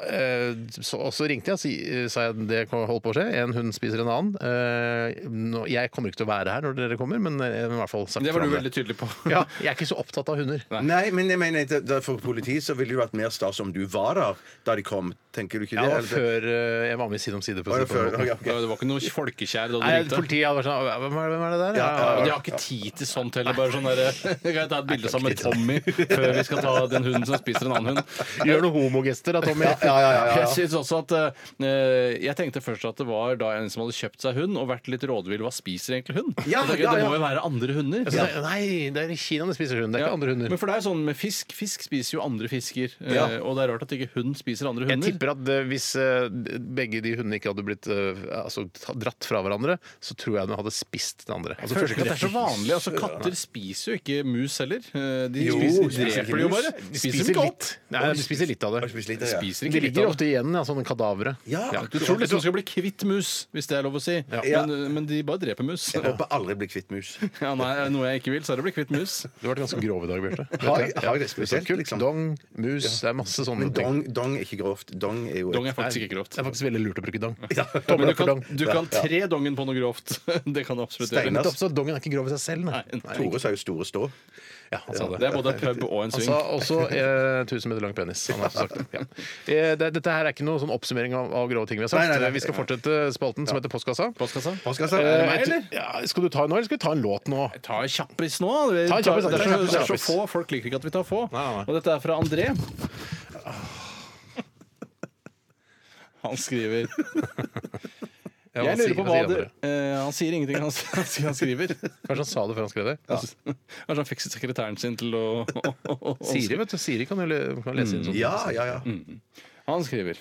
eh, så, og så ringte jeg og si- sa jeg det kan holde på å skje. En hund spiser en annen. Eh, nå- Jeg kommer ikke til å være her når dere kommer, men eh, i hvert fall sagt Det var fra du om veldig tydelig på. Ja, jeg er ikke så opptatt av hunder. Nei, men jeg mener, det- det- for politiet så ville det jo vært mer stas om du var der da de kom. Tenker du ikke Ja, det det? var Eller- før eh, jeg var med i Side om side. på Å, ja, Side på før- Båten. ja, Det ok. var ikke noe folkekjær da du Nei, ringte. politiet hadde vært sånn «Hvem er, det- hvem er det der? Ja, Ja, De har ikke tid til sånt heller. Bare sånn der, Kan jeg ta et bilde sammen med Tommy før vi skal ta den hunden som spiser en annen hund? Gjør noen homogester da, Tommy. ja, ja, ja, ja. Jeg synes også at eh, Jeg tenkte først at det var da en som hadde kjøpt seg hund og vært litt rådvill. Hva spiser egentlig hund? Ja, Så tenkte jeg, ja, ja. Det må jo være andre hunder. Så det- Nei, det er i Kina de spiser hund, det er Ja, ikke andre hunder. Men for det er jo sånn med fisk. Fisk spiser jo andre fisker. eh, Ja. Og det er rart at ikke hund spiser andre Jeg hunder. tipper at eh, hvis eh, begge de hundene ikke hadde blitt eh, altså, ta- dratt fra hverandre, så tror jeg de hadde spist det andre. Altså, Jeg føler ikke at det er så første- vanlig. altså Katter spiser jo ikke mus heller. Eh, De Jo, spiser, spiser ikke dreper de jo mus. bare. De Spiser spiser dem ikke opp. litt. Nei, de spiser litt av det. Jeg spiser litt, ja. Spiser De ikke litt av ligger det. ofte igjen, ja, sånne kadavere. Ja, Ja, Du tror liksom du skal bli kvitt mus, hvis det er lov å si. Ja. Men, eh, men de bare dreper mus. Jeg håper aldri bli kvitt mus. Ja, nei, er det noe jeg ikke vil, så er det å bli kvitt mus. Du har vært ganske grov i dag, Bjarte. Har jeg- har jeg Du det sa spesielt, kutt, liksom? Dong, mus, det er masse sånne Men ting. dong, dong er ikke grovt. Dong er jo et- Dong er faktisk ikke grovt. Det er faktisk veldig lurt å bruke dong. Men Tommel du opp for kan, dong. du kan tre dongen på noe grovt. Det kan du absolutt Steinar. gjøre. Men det er også at Dongen er ikke grov i seg selv. Nei. Nei, Tore sa jo store stå. Ja, han sa det. Det er både en pub og Han en swing. sa også eh, 1000 meter lang penis. Han har også sagt det. Ja. Eh, det, dette her er ikke noe sånn oppsummering av, av grove ting vi har sagt. Eh, Nei, nei, nei. vi skal fortsette spalten som heter Postkassa. Postkassa? Postkassa? Eh, meg, jeg- eller? Ja, skal du ta en nå, eller skal vi ta en låt nå? Ta en kjappis nå. Vi Ta en tar- kjappis, det, ta er en så, det er så kjappis. få. Folk liker ikke at vi tar få. Nei, nei. Og dette er fra André. Han skriver Jeg lurer på hva det eh, Han sier ingenting, han, han sier han skriver. Kanskje han sa det før han skrev det? Kanskje han fikk sekretæren sin til å, å, å, å Siri vet du, Siri kan, jo le- kan lese inn sånn. Ja, ja, ja. Han skriver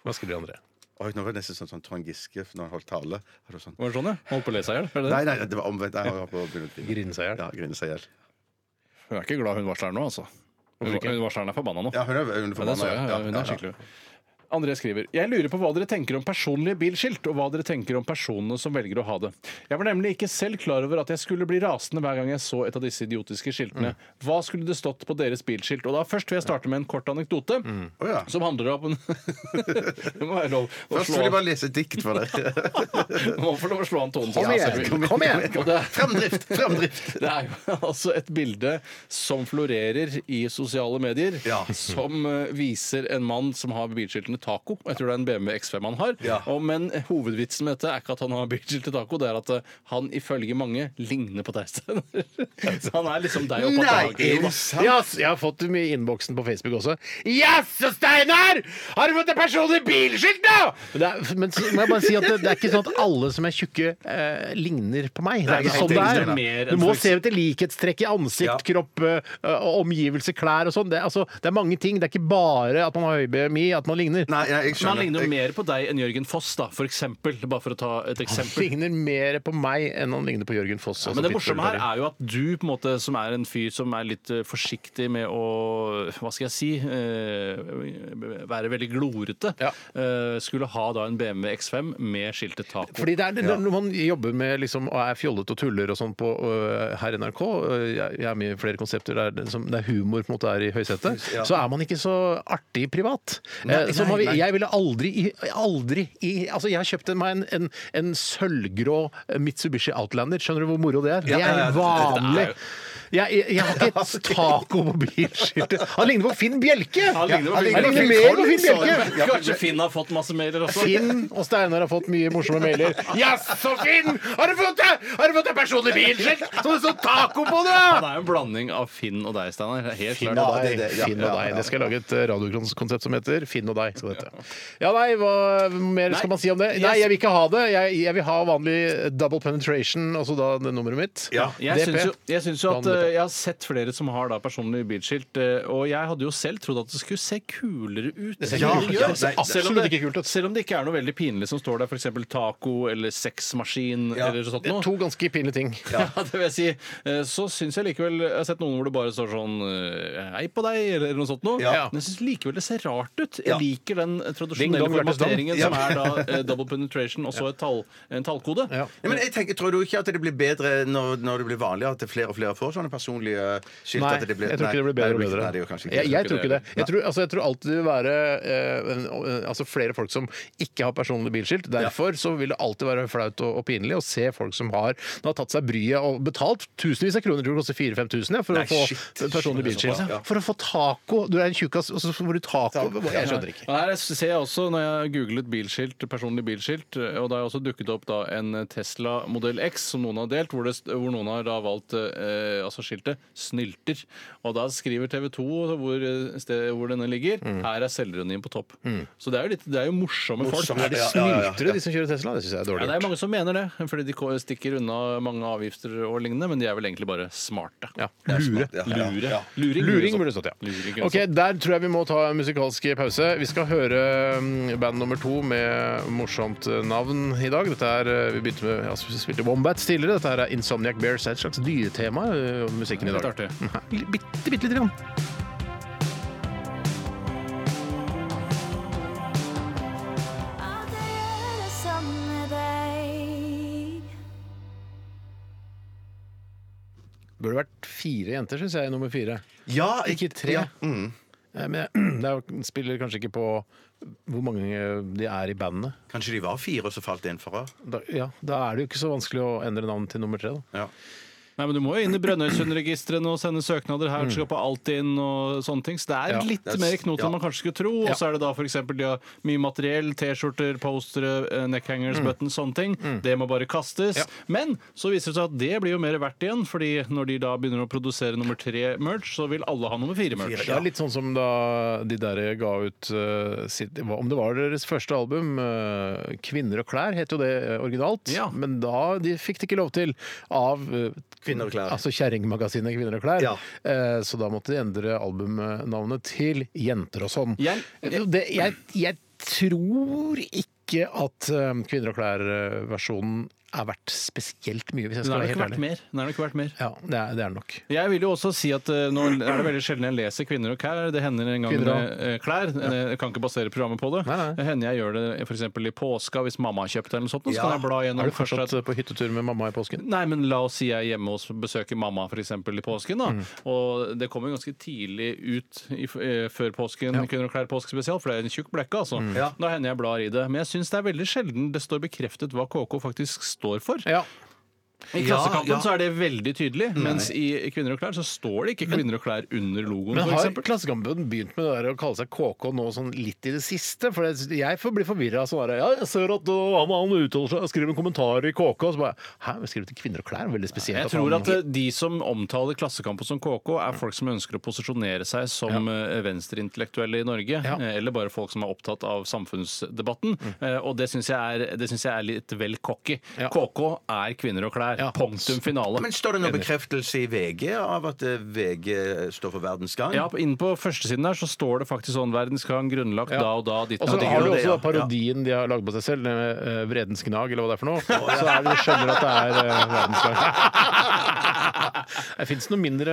Hva skriver André? Oi, nå var det nesten sånn, sånn Trond Giske når han holdt tale. Var det sånn? Var det sånn, ja? Holdt på å le seg i hjel? Nei, nei, det var omvendt. Jeg har på å begynne å grine. Grine seg i hjel. Ja, grine seg i hjel. Hun er ikke glad hun varsleren nå, altså. Hun hun varsleren er forbanna nå. Ja, hun er under Ja, det så jeg. Ja, hun er skikkelig André skriver Jeg lurer på hva dere tenker om personlige bilskilt, og hva dere tenker om personene som velger å ha det. Jeg var nemlig ikke selv klar over at jeg skulle bli rasende hver gang jeg så et av disse idiotiske skiltene. Hva skulle det stått på deres bilskilt? Og da først vil jeg starte med en kort anekdote. Å, ja. Som handler om Det må være lov å Først slå vil jeg an, bare lese et dikt for deg. må få lov å slå an tonen sin. Kom Ja, igjen! selvfølgelig. Kom igjen! Og det, Fremdrift! Fremdrift! Det er jo altså et bilde som florerer i sosiale medier, Ja. som eh, viser en mann som har bilskiltene Taco. Jeg tror det er en BMW X5 han har. Ja. Og, men hovedvitsen med dette er ikke at han har bilskiltet Taco, det er at eh, han ifølge mange ligner på deg, Steinar. Så han er liksom deg og er pappa. det sant? Ja, s- jeg har fått det mye i innboksen på Facebook også. Jaså, Steinar! Har du fått et personlig bilskilt nå?! Men, det er, men så må jeg bare si at det, det er ikke sånn at alle som er tjukke, eh, ligner på meg. Det er Nei, ikke helt sånn det enig, er. Steinar. Mer Du enn må folk- se etter likhetstrekk i ansikt, Ja. kropp, eh, og omgivelser, klær og sånn. Det, er- altså, det er mange ting. Det er ikke bare at man har høy BMI, at man ligner. Nei, ja, Men han jeg skjønner. ligner jo Jeg- mer på deg enn Jørgen Foss, da, for eksempel. Bare for å ta et Han eksempel. ligner mer på meg enn han ligner på Jørgen Foss. Ja, altså men det Pitbull morsomme her Terry. er jo at du, på en måte, som er en fyr som er litt eh, forsiktig med å Hva skal jeg si eh, Være veldig glorete, Ja. eh, skulle ha da en BMW X5 med skiltet taco. Fordi det er, det- Når man jobber med liksom, og er fjollete og tuller og sånn på øh, her i NRK øh, Jeg jeg er med i flere konsepter der, det som, der humor på en måte er i høysetet. Ja. Så er man ikke så artig privat. Nei, Eh, så nei, man, vil- nei. jeg ville aldri i, aldri i Altså, jeg har kjøpt en- meg en, en, en sølvgrå Mitsubishi Outlander. Skjønner du hvor moro det er? Det ja, ja. er vanlig. Jeg, jeg, jeg har ikke et taco på bilskiltet. Han ligner på Finn Bjelke! Han ligner på Ja, Finn han Bjelke. ligner mer på Finn Bjelke! Ja, Kanskje Finn har fått masse mailer også? Finn og Steinar har fått mye morsomme mailer. Jaså, Finn! Har du fått deg Har du fått deg personlig bilskilt som det står taco på? det? Han er jo en blanding av Finn og deg, Steinar. Det er Helt Finn klart. og Ja, deg. det er det. Ja, Finn og ja, deg. ja, Det skal jeg lage et eh, radiokonsert som heter Finn og deg. Skal det hete. Ja, nei, hva mer skal man si om det? Nei, jeg vil ikke ha det. Jeg, jeg vil ha vanlig double penetration, altså da det nummeret mitt. Ja, Jeg DP. syns, jo, jeg syns jo at Vanlig eh, DP. jeg har sett flere som har da personlig bilskilt, eh, og jeg hadde jo selv trodd at det skulle se kulere ut. ser enn det ikke kult ut. gjør. Det ser Selv om absolutt ikke kult ut. Selv om det ikke er noe veldig pinlig som står der, f.eks. taco eller sexmaskin Ja. eller sånt Det er noe. to ganske pinlige ting. Ja, det vil jeg si. Eh, Så syns jeg likevel Jeg har sett noen hvor det bare står sånn eh, Hei på deg, eller noe sånt noe. Ja. Men jeg syns likevel det ser rart ut. Ja. Jeg liker den eh, Ding tradisjonelle dong, hjertets dam. formateringen som er da eh, double penetration og så et tall, en tallkode. Ja. Ja, men jeg tenker, Tror du ikke at det blir bedre når, når det blir vanlig at flere og flere får sånne personlige skilt? Nei, at det blir, jeg tror ikke det blir bedre og bedre. Nei, det gjør kanskje ikke jeg, det. jeg tror ikke det. Nei. Jeg tror, altså, jeg tror alltid det vil være eh, en- eh, altså, flere folk som ikke har personlig bilskilt. Derfor så vil det alltid være flaut og, og pinlig å se folk som har, som har tatt seg bryet og betalt tusenvis av kroner, tror det koster 4000-5000 ja, for Nei, å få shit. personlig Shit, bilskilt. såpass, ja. For å få taco! Du er en tjukkas, og så får du taco. Jeg skjønner ikke. Og Her ser jeg også, når jeg googlet bilskilt, personlig bilskilt, og da har også dukket opp da en Tesla modell X som noen har delt, hvor, det, hvor noen har da valgt eh, altså skiltet 'snylter'. Og da skriver TV 2 hvor, eh, sted, hvor denne ligger, Mm. her er selvironien på topp. Så det er jo, litt, det er jo morsomme folk. Morsomme, Er de ja, snyltere? Snyltere, de som kjører Tesla. Det syns jeg er Ja, dårlig. det er gjort. mange som mener det, fordi de ko- stikker unna mange avgifter og lignende, men de er vel egentlig bare smarte. Ja. Det er Lure. smart. Lure. Luring, Luring burde burde det stått, Luring, ja. kunne Ok, Der tror jeg vi må ta en musikalsk pause. Vi skal høre mm, band nummer to med morsomt eh, navn i dag. Dette er, eh, Vi begynte med, altså, vi spilte Wombats tidligere. Dette her er eh, Insomniac Bears. Det er et slags dyretema, eh, musikken i Litt dag. artig. Bitte, bitte, bitte lite grann. Alt jeg gjør er sammen med deg. Burde vært fire jenter, syns jeg, i nummer fire. Ja, jeg, Ikke tre. Ja. mm. Eh, Men det er jo- spiller kanskje ikke på hvor mange de er i bandet. Kanskje de var fire, og så falt en fra? Da, ja, da er det jo ikke så vanskelig å endre navn til nummer tre. da. Ja. Nei, men Du må jo inn i Brønnøysundregistrene og sende søknader her. Skal på Altinn og sånne ting. Så det er Mm. Ja. litt Det er s- mer knot ja. enn man kanskje skulle tro. Og så er det da f.eks. de har mye materiell. T-skjorter, postere, eh, neckhangers, buttons, sånne ting. Det må bare kastes. Mm. Ja. Men så viser det seg at det blir jo mer verdt igjen, fordi når de da begynner å produsere nummer tre-merch, så vil alle ha nummer fire-merch. Det er litt sånn som da de der ga ut eh, sitt, hva- Om det var deres første album, eh, 'Kvinner og klær', het jo det eh, originalt. Ja. Men da de fikk de ikke lov til av eh, Kvinner og klær. Altså kjerringmagasinet Kvinner og klær. Ja. Eh, Så da måtte de endre albumnavnet til 'Jenter og sånn'. Jeg- det, jeg, jeg tror ikke at eh, Kvinner og klær-versjonen er verdt spesielt mye, hvis jeg Den skal er være nok helt verdt ærlig. mer. Den er nok verdt mer. Ja, det er, det er nok. Jeg vil jo også si at eh, nå er det veldig sjelden jeg leser kvinner og klær. Det hender en gang Kvinner og- med eh, klær. Jeg kan ikke basere programmet på det. Nei, nei. Det hender jeg gjør det f.eks. i påska hvis mamma har kjøpt det, eller noe sånt, så Ja. kan jeg bla Er gjennom du først at fortsatt på hyttetur med mamma i påsken? Nei, men la oss si jeg er hjemme hos besøker mamma for eksempel, i påsken. da Mm. Og det kommer jo ganske tidlig ut i, f- eh, før påsken, kvinner og klær påskespesial, for det er en tjukk blekke. altså Mm. Ja. Da hender jeg blar i det. Men jeg syns det er veldig sjelden det står bekreftet hva KK faktisk står for. Ja. I Ja, Klassekampen ja. så er det veldig tydelig, Mm. mens i Kvinner og klær så står det ikke Kvinner og klær under logoen, Men for har eksempel. Klassekampen begynt med det der å kalle seg KK nå sånn litt i det siste? For jeg- jeg får bli forvirra av sånn der, Ja, jeg ser at uh, han, han uttaler seg, skriver en kommentar i KK, og så bare Hæ, men skriver til kvinner og klær? Veldig spesielt. Jeg tror at øh, eh, de som omtaler Klassekampen som KK, er folk som ønsker å posisjonere seg som eh, venstreintellektuelle i Norge. Ja. Mm. eh, Eller bare folk som er opptatt av samfunnsdebatten. Eh, Og det syns jeg, er- det synes jeg er litt vel cocky. Ja. KK er kvinner og klær. Ja. Punktum finale. Men står det noen bekreftelse i VG av at eh, VG står for Verdens Gang? Ja, inne på førstesiden her så står det faktisk sånn Verdensgang grunnlagt da og da, ditt Og og så det ditt. har gjør du også det, da ja. parodien de har lagd på seg selv, med eh, 'Vredens gnag', eller hva det er for noe. Så er det, du skjønner at det er eh, verdensgang. Det fins noe mindre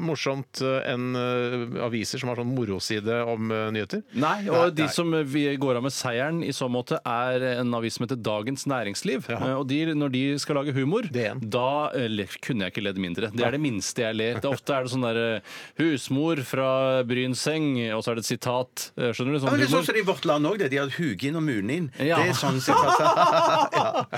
morsomt eh, enn eh, aviser som har sånn moroside om eh, nyheter. Nei, og de som eh, vi går av med seieren i så måte, er en avis som heter Dagens Næringsliv. Eh, Og de, når de skal lage humor, DN. da eh, le- kunne jeg ikke ledd mindre. Det er det minste jeg ler. Det er ofte er det sånn derre 'Husmor fra Brynseng', og så er det et sitat. Eh, Skjønner du? Ja, Sånn men det er sånn humor. som det er i Vårt Land òg. De har Hugin og Munin. Ja. Det er sånn sitat.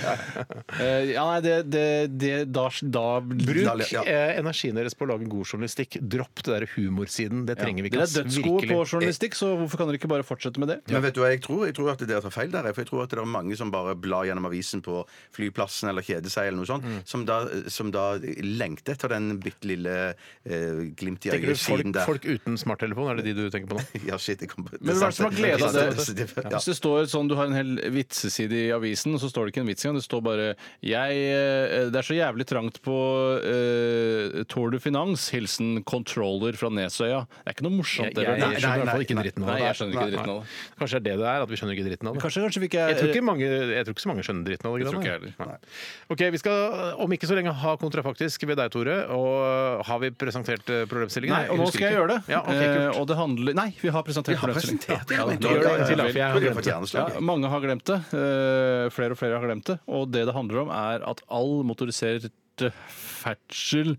Eh, Ja, nei, det, det, det da, da Bruk Bruk Ja. eh, energien deres på å lage god journalistikk. Dropp det der humorsiden. Det trenger vi ikke. Dere ass. er dødsgode på Virkelig. journalistikk, så hvorfor kan dere ikke bare fortsette med det? Men vet du hva jeg tror? Jeg tror at dere tar feil der. For jeg tror at det er mange som bare blar gjennom avisen på flyplassen eller kjeder seg, eller noe sånt, Mm. som, da, som da lengter etter den bitte lille eh, glimt i Tenker du folk, øyet-siden der. folk uten smarttelefon, er det de du tenker på nå? Ja, shit, jeg kom på Men hva er det som har glede av det? Ja. Hvis det står sånn, du har en hel vitseside i avisen, og så står det ikke en vits engang. Det står bare jeg, eh, 'Det er så jævlig trangt på eh, Tour de Finance'. Hilsen controller fra Nesøya. Det er ikke noe morsomt. det, Jeg- Bjørn. jeg skjønner i hvert fall ikke dritten av det. Nei, jeg skjønner ikke dritten av det. Nei. Kanskje det er det det er, at vi skjønner ikke dritten av det. Kanskje, kanskje fikk jeg Jeg tror, ikke mange, jeg tror ikke så mange skjønner dritten av det. Jeg tror greiene. ikke jeg Nei. Ok, Vi skal eh, om ikke så lenge ha kontrafaktisk ved deg, Tore. Og har vi presentert eh, problemstillingen? Nei, og nå skal jeg gjøre det. Ja, ok, Eh, kult. og det handler Nei, vi har presentert Vi har presentert det, Ja, men- vi gjør det en til, da, for jeg har Tror jeg glemt får det. hjerneslag, Ja, jeg. mange har glemt det. Eh, Flere og flere har glemt det. Og det det handler om, er at all motorisert eh, ferdsel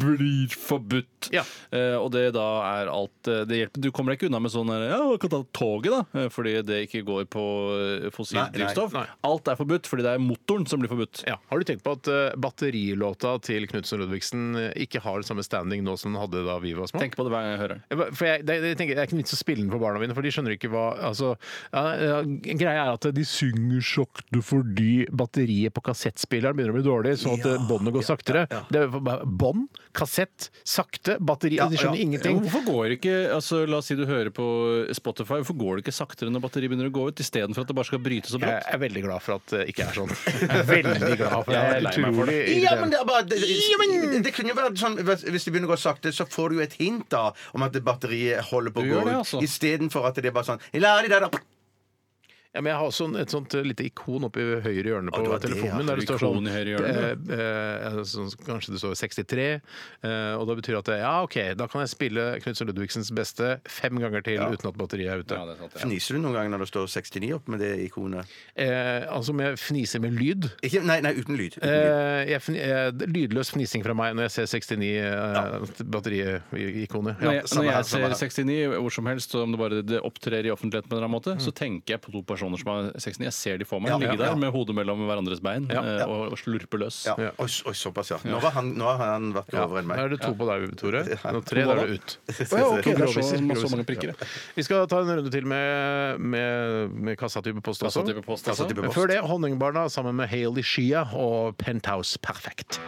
blir forbudt. Mm. Ja. Eh, og det da er alt eh, Det hjelper. Du kommer deg ikke unna med sånn her, Ja, du kan ta toget, da. eh, Fordi det ikke går på eh, Nei, fossilt nei, drivstoff. nei. Alt er forbudt fordi det er motoren som blir forbudt. Ja. Har du tenkt på at eh, batterilåta til Knutsen og Ludvigsen eh, ikke har samme standing nå som den hadde da vi var små? Tenk på det hver gang jeg hører den. Jeg bare- For jeg, det, det, tenker, jeg- det er ikke vits å spille den for barna mine, for de skjønner ikke hva altså, ja, ja, Greia er at de synger sakte fordi batteriet på kassettspilleren begynner å bli dårlig, sånn at eh, båndet går saktere. Det er bare Bånd, kassett, sakte, batteri De skjønner Ja, ingenting. men hvorfor går det ikke, altså La oss si du hører på Spotify, hvorfor går det ikke saktere når batteriet begynner å gå ut, istedenfor at det bare skal brytes Jeg og brått? er veldig glad for at det ikke er sånn. Jeg er veldig glad for det. Jeg er lei meg for det. Utrolig Ja, men irriterende. det, er bare, det, det, det kunne jo være sånn hvis- Hvis det begynner å gå sakte, så får du jo et hint da om at batteriet holder på å Du gå gjør det, ut. altså. Istedenfor at det er bare sånn la de der, da. Ja, men jeg har også en- et sånt eh, lite ikon oppe i høyre hjørne Ah, på du har det, telefonen ja. min. Der det står Ikon sånn, i høyre hjørne, eh, eh, sånn Kanskje det står 63, eh, og da betyr det at jeg- ja, OK, da kan jeg spille Knutsen Ludvigsens beste fem ganger til uten at batteriet er ute. Ja, det er sant, ja. Fniser du noen gang når det står 69 opp med det ikonet? eh, altså om jeg fniser med lyd. Ikke, nei, nei, uten lyd. Uten lyd. Eh, jeg fni, eh, lydløs fnising fra meg når jeg ser 69 eh, batteriikonet. Når Ja, jeg, samme når her, jeg samme ser her. 69 hvor som helst, og om det bare det opptrer i offentligheten, på en eller annen måte, så tenker jeg på to personer som har 69. Jeg ser de for meg Ja, ligge ja, ja. der med hodet mellom hverandres bein Ja, eh, ja. Og, og slurpe løs. Ja. Oi, s- oi, såpass, ja. Nå, var han, nå har han vært grovere Nå enn meg. er det to på deg, Tore. Nå tre, da To på er det meg. ut. Å ja, ok, det er så- Groviser, så groviser. mange prikker, ja. Vi skal ta en runde til med, med, med kassatype post også. Kassatype post, altså. Kassatype post. Før det Honningbarna sammen med Hailey Shia og Penthouse Perfect.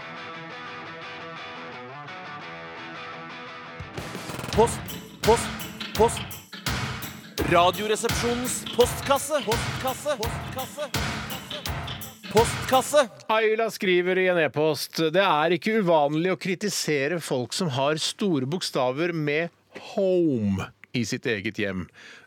Post, post, post. Radioresepsjonens postkasse. Postkasse. Postkasse. Postkasse. Ayla skriver i en e-post Det er ikke uvanlig å kritisere folk som har store bokstaver med home i sitt eget hjem.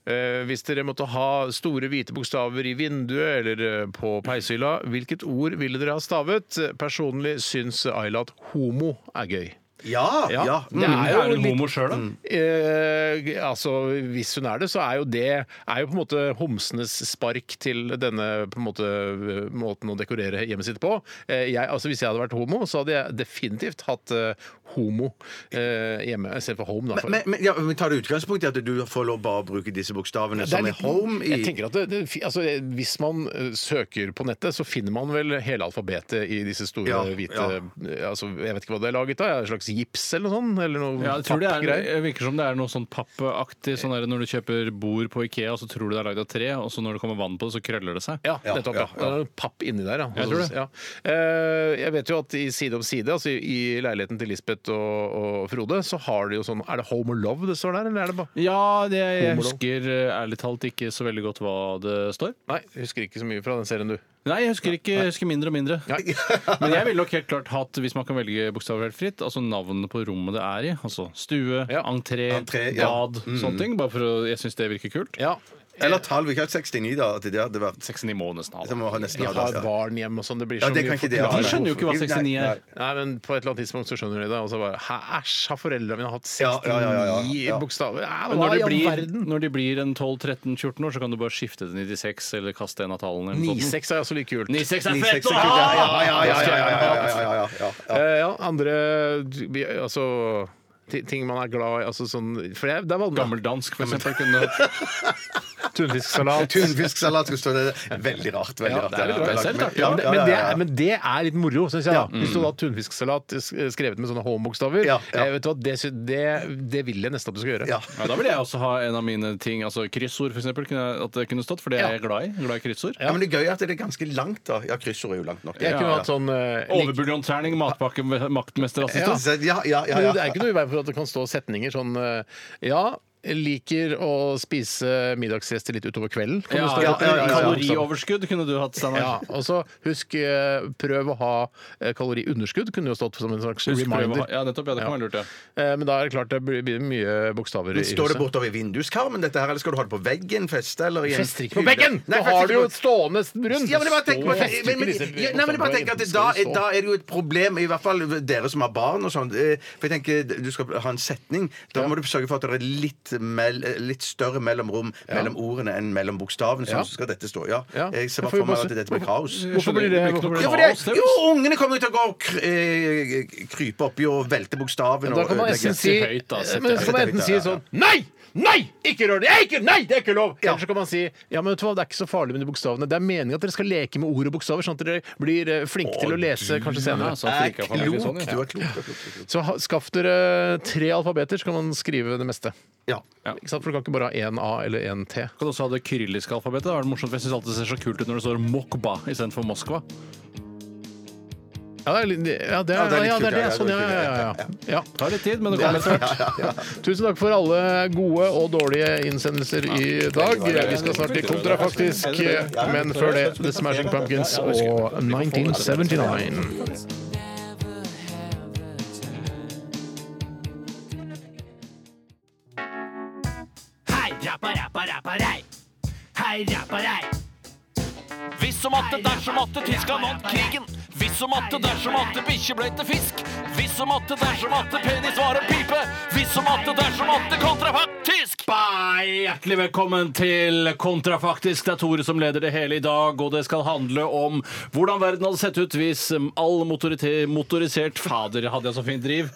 Eh, hvis dere måtte ha store hvite bokstaver i vinduet eller eh, på peishylla, hvilket ord ville dere ha stavet? Personlig syns Ayla at homo er gøy. Ja! Ja, ja. Mm. det er jo hun litt- homo sjøl, da? Eh, altså, Hvis hun er det, så er jo det er jo på en måte homsenes spark til denne på en måte, måten å dekorere hjemmet sitt på. Eh, jeg, altså Hvis jeg hadde vært homo, så hadde jeg definitivt hatt eh, homo eh, hjemme. Istedenfor home, da. for- Men, men, ja, men tar det utgangspunkt i at du får lov bare å bruke disse bokstavene Det er som er litt- home Jeg i tenker at det, det, fi- altså, Hvis man eh, søker på nettet, så finner man vel hele alfabetet i disse store Ja, hvite ja. eh, Altså, Jeg vet ikke hva det er laget av? En slags gips eller noe sånt? Eller noe Ja, jeg tror det er, pappgreier? det virker som det er noe sånn pappaktig. Sånn der når du kjøper bord på Ikea, så tror du det er lagd av tre, og så når det kommer vann på det, så krøller det seg. Ja, nettopp. Ja, ja, ja. Det er noe papp inni der, ja. Jeg tror det. Ja. Eh, Jeg vet jo at i Side om side, altså i i leiligheten til Lisbeth og, og Frode, så har de jo sånn Er det Home or Love det står der, eller er det bare Ja, det, jeg Homolov. husker eh, ærlig talt ikke så veldig godt hva det står. Nei, jeg husker ikke så mye fra den serien, du. Nei, jeg husker ikke, jeg husker mindre og mindre. Men jeg ville nok helt klart hatt, hvis man kan velge bokstaver helt fritt, altså navnet på rommet det er i. Altså stue, Ja. entré, Entré, ja. Mm. bad, sånne ting. Bare for å, jeg syns det virker kult. Ja. Eller tall. Vi kan ha 69, da. At det hadde vært 69 må nesten ha det. Det må ha De nesten ha har det. ja. barn hjemme og sånn. Det blir Ja, så det mye kan ikke de ha. forklaring. De skjønner jo ikke hva Nei, 69 er. Nei, men på et eller annet tidspunkt så skjønner de det. Og så bare Hæ, æsj, har foreldrene mine hatt 69 Ja, ja, ja, ja, ja. bokstaver? Ja, Men hva når i de, all blir, verden? når de blir en 12-13-14 år, så kan du bare skifte til 96 eller kaste en av tallene. eller noe sånt. 96 Sånn, er også like kult. 96 er 96 fett! er å kult, ha! ja, ja, ja, ja, ja, ja, ja, ja, ja, ja, ja, ja. Eh, ja, andre vi- Altså ti- ting man er glad i. Altså sånn For jeg, det er vanlig. Gammeldansk, for eksempel. Kunne... Tunfisksalat. Tunfisksalat skulle stå der. Veldig rart. veldig Ja, rart. det er veldig rart. Selv takk. Ja, Ja, men, det, men, det ja, ja, er, ja. men det er litt moro, syns jeg. da Hvis du hadde hatt tunfisksalat s- skrevet med sånne H-bokstaver, Ja, ja. eh, vet du hva, det, sy- det, det vil jeg nesten at du skal gjøre. Ja. Ja, Da vil jeg også ha en av mine ting, altså kryssord f.eks. At det kunne stått, for det er jeg glad i. Glad i kryssord. Ja, men det er gøy at det er ganske langt, da. Ja, kryssord er jo langt nok. Jeg Ja, kunne ja. hatt sånn eh, lik- Overbuljongterning, matpakke, maktmesterassistent. ja, ja, ja, ja. Men Det er ikke noe i veien for at det kan stå setninger sånn eh, Ja, jeg liker å spise middagsrester litt utover kvelden. Kan det Ja, stå ja, rett- ja, ja, ja. Kalorioverskudd kunne du hatt, sånn. Steinar. Ja, og så husk eh, prøv å ha eh, kaloriunderskudd, kunne jo stått som en slags Husk prøve å reminder. ha- Ja, nettopp. Ja, det kan være lurt, ja. Eh, Men da er det klart det blir blir mye bokstaver i Men Står det huset. bortover i vinduskarmen, dette her, eller skal du ha det på veggen? Feste, eller i en Fester ikke på hule? veggen! Nei, Da fester har du jo ikke et på- stående rundt. ja, men jeg bare tenker, men, Fester men, ikke men, disse- ja, nei, men jeg bare tenker at det, da, Skal det stå? da er det jo et problem, i hvert fall dere som har barn og sånn. eh, For jeg tenker, Du skal ha en setning. Da må du sørge for at det er litt, mel, litt større mellomrom mellom ordene enn mellom bokstavene. Sånn Ja. så skal dette stå. Ja. Ja. Jeg ser Jeg bare får jo for meg bare at se- dette blir kaos. Hvorfor blir det- Ikke noe hvorfor Ja, for problem. det, Kaos, det er jo, vel- ungene kommer jo til å gå og kr- eh, krype oppi og velte bokstavene. Da kan man og enten ødelegge. si, Sett det høyt, da, sett det men så høyt. kan man enten si sånn Nei! Nei! Ikke rør det! Jeg er Ikke, nei, det er ikke lov! Eller så kan man si ja, men vet du hva, det er ikke så farlig med de bokstavene. Det er meningen at dere skal leke med ord og bokstaver, sånn at dere blir eh, flinke til å lese kanskje senere. Ja, så Er flinke for meg, klok, sånn, du ja. er klok. Du er klok, du er klok. Så ha- skaff dere tre alfabeter, så kan man skrive det meste. Ja. Ikke sant? For du kan ikke bare ha én A eller én T. Kan også ha det kyrilliske alfabetet. Da er det morsomt, for Jeg syns alltid det ser så kult ut når det står Mokba istedenfor Moskva. Ja, det er, litt- ja, det Ja, er, det er litt ja, det kult, er det. ja, Sånn, ja, ja, det er ja, ja, ja. ja. Tar litt tid, men det kommer etter hvert. Tusen takk for alle gode og dårlige innsendelser i dag. Vi skal snart til kontra, faktisk. Men før det The Smashing Pumpkins og 1979. Hei, rappa, rappa, rappa, rei. Hei, rappa, rei. Hvis som atte, dersom atte, Tyskland vant krigen. Hvis som atte, dersom atte, bikkje ble til fisk. Hvis som atte, dersom atte, penis var en pipe. Hvis som atte, dersom atte, kontrafaktisk. Bye! Hjertelig velkommen til Kontrafaktisk. Det er Tore som leder det hele i dag, og det skal handle om hvordan verden hadde sett ut hvis um, all motorite- motorisert Fader, hadde jeg så fint driv.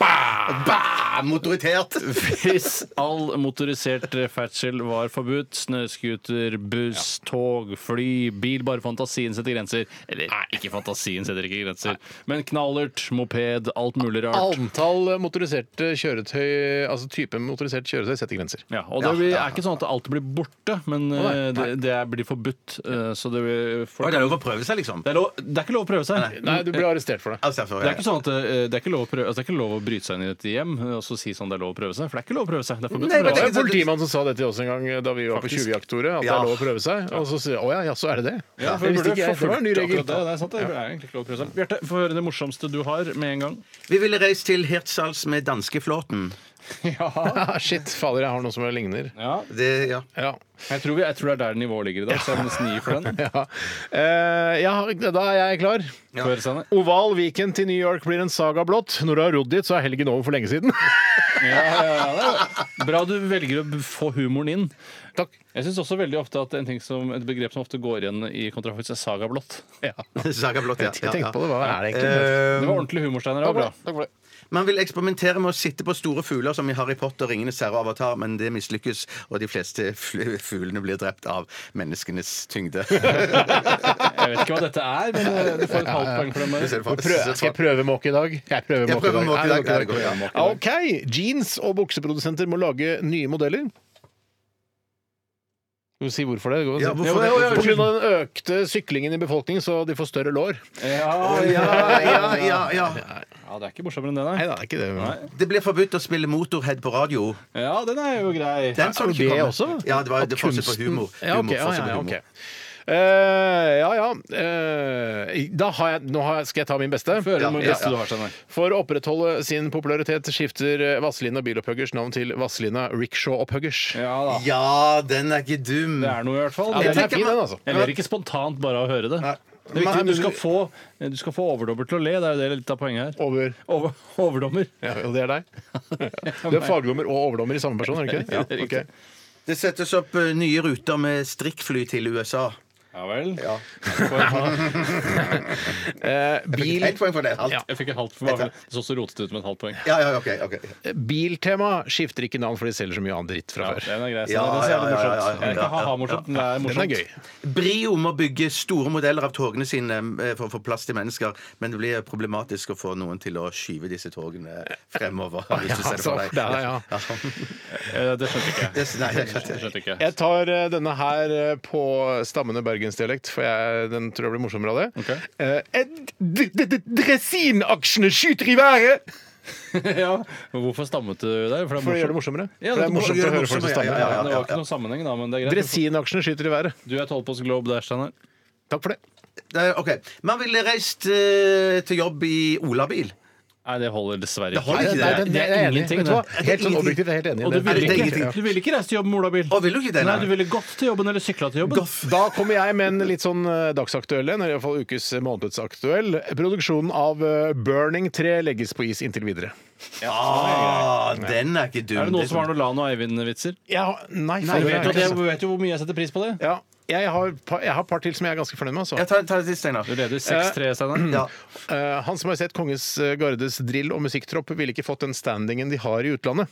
Bah! Bah! Motoritert! Hvis all motorisert ferdsel var forbudt, snøscooter, buss, tog, fly, bil Bare fantasien setter grenser. Eller ikke fantasien setter ikke grenser, men knallert, moped, alt mulig rart. Antall motoriserte kjøretøy, altså type motorisert kjøretøy, setter grenser. Ja, og det blir, er ikke sånn at alt blir borte, men eh, det, det er- blir forbudt. eh, Så det, blir- folk, Oi, det er lov å prøve seg, liksom. det, er lov, det er ikke lov å prøve seg. Nei, du blir arrestert for det. Altså, derfor, Det er ikke sånn at eh, det er ikke lov å, prøve, altså, det er ikke lov å bryte seg inn i et hjem eh, og så si sånn det er lov å prøve seg. For det er ikke lov å prøve seg. Det er forbudt. Nei, Det men var en politimann som sa det til oss en gang eh, da vi var på Faktisk. 20-jaktordet. At det Ja. er lov å prøve seg. Og så sier jeg å ja, ja, så er det det. Ja, Det for det visste burde ikke jeg. Det var en ny forfulgt regel. akkurat Det, det er sant, det er egentlig ikke lov å prøve seg. Bjarte, få høre det morsomste du har med en gang. Vi ville reist til Hirtshals med danskeflåten. Ah, Shit, fader, jeg har noe som ligner. Det, ja. Ja. Jeg tror, vi, jeg tror det er der nivået ligger i dag, så jeg må nesten gi for den. Ja. Eh, ja, da er jeg klar. Få høre, Steinar. Oval weekend til New York blir en saga blått. Når du har rodd dit, så er helgen over for lenge siden. Ja, ja, ja. Bra du velger å få humoren inn. Takk. Jeg syns også veldig ofte at en ting som, et begrep som ofte går igjen i kontrafaktisk, er saga blått. Saga Blått, ja. Jeg ja, tenkte ja. på det. Hva er det egentlig? Det Eh, var ordentlig humor, Steinar. Det var bra. Takk for det. man vil eksperimentere med å sitte på store fugler som i Harry Potter, Ringenes herre og Avatar, men det mislykkes, og de fleste fl- fuglene blir drept av menneskenes tyngde. Jeg vet ikke hva dette er, men eh, du får et halvt poeng for den. Du bare. ser det Prøv, skal jeg prøve måke i dag? Jeg prøver Jeg måke i prøver dag. måke i dag. Nei, Nei, det går ikke. Ja, OK. Jeans- og bukseprodusenter må lage nye modeller. Skal vi si hvorfor det? Ja, På hvorfor det? grunn av den økte syklingen i befolkningen, så de får større lår. Ja, Ja, ja, ja, ja. ja, det er ikke morsommere enn det, nei. Nei, det er ikke det. Det ble forbudt å spille motorhead på radio. Ja, den er jo grei. Den så du det ikke komme. også? Ja, det var At det forsøk på kunsten- humor. Ja, ok, Humor, ja, forsøk ja, på ja, humor. ok. Eh, ja, ja. eh, da har jeg, nå har jeg, skal jeg ta min beste. Før Ja, det ja, beste ja. du har, Steinar. For å opprettholde sin popularitet skifter Vazelina Bilopphuggers navn til Vazelina Rickshaw-opphuggers. Ja da. Ja, den er ikke dum. Det er noe, i hvert fall. Ja, Jeg den er tenker fin, man- den, altså. Jeg ler ikke spontant bare av å høre det. Det er Nei, viktig, men du skal få, du skal få overdommer til å le. Det er jo det litt av poenget her. Over. Over, overdommer. Ja, og det er deg. Du er fagdommer og overdommer i samme person, er du ikke? Ja, det er riktig. ok. Det settes opp eh, nye ruter med strikkfly til USA. Ja vel. Ja. Eh, Fikk bil, ett poeng for det. Halvt. Ja. Jeg fikk et halvt for det. Så også rotet det ut med et halvt poeng. Ja, ja, ok, ok. biltema skifter ikke navn, for de selger så mye annen dritt fra Ja, før. den er grei. Så Ja, den er jævlig ja, ja, ja, morsomt. ja, ja. Det er ikke ha-ha-morsomt, men det er Den morsomt. er gøy. Brio må bygge store modeller av togene sine eh, for å få plass til mennesker, men det blir problematisk å få noen til å skyve disse togene fremover. Hvis du ser det for altså, deg. det er- ja. Eh, Det skjønte ikke jeg. Det, nei, det, Det skjønte ikke jeg. Jeg tar eh, denne her eh, på stammende bergensdialekt, for jeg, den tror jeg blir morsommere av det. Ok. Eh, et- d- d- d- Dresinaksjene skyter i været! ja. Men Hvorfor stammet du der? For det er For det gjør det morsomt. morsommere. Ja, for det det er morsomt gjør å det høre folk som morsommere, ja, stammer. ja, ja. Det var ikke noen sammenheng, da, men det er greit. Dresinaksjene skyter i været. Du er tolv på Globe der, Steinar. Takk for det. det, er- ok. Man ville reist eh, til jobb i olabil. Nei, det holder dessverre Det holder ikke, det. er- Det er ingenting. Vet du hva? det. Helt sånn objektivt, jeg er helt enig Og du i det. det ville er ikke, ingenting. du ville ikke reise til jobb med olabil. Å, vil du ikke det? Nei, du ville gått til jobben eller sykla til jobben. Da kommer jeg med en litt sånn eh, dagsaktuell en, eller iallfall ukes eh, månedsaktuell. Produksjonen av eh, Burning 3 legges på is inntil videre. Ah, den er sånn- ikke dum. Er det noen som har noen Lan og Eivind-vitser? Ja, nei, Du faen, det vet, er jo- ikke det- så- du vet jo hvor mye jeg setter pris på det. ja, jeg har et par- jeg har et par til som jeg er ganske fornøyd med. Altså. Ja, ta, ta det til, Steinar. Du leder 6-3, Steinar. Ja. Eh, Hans Majestet Kongens eh, Gardes drill- og musikktropp ville ikke fått den standingen de har i utlandet.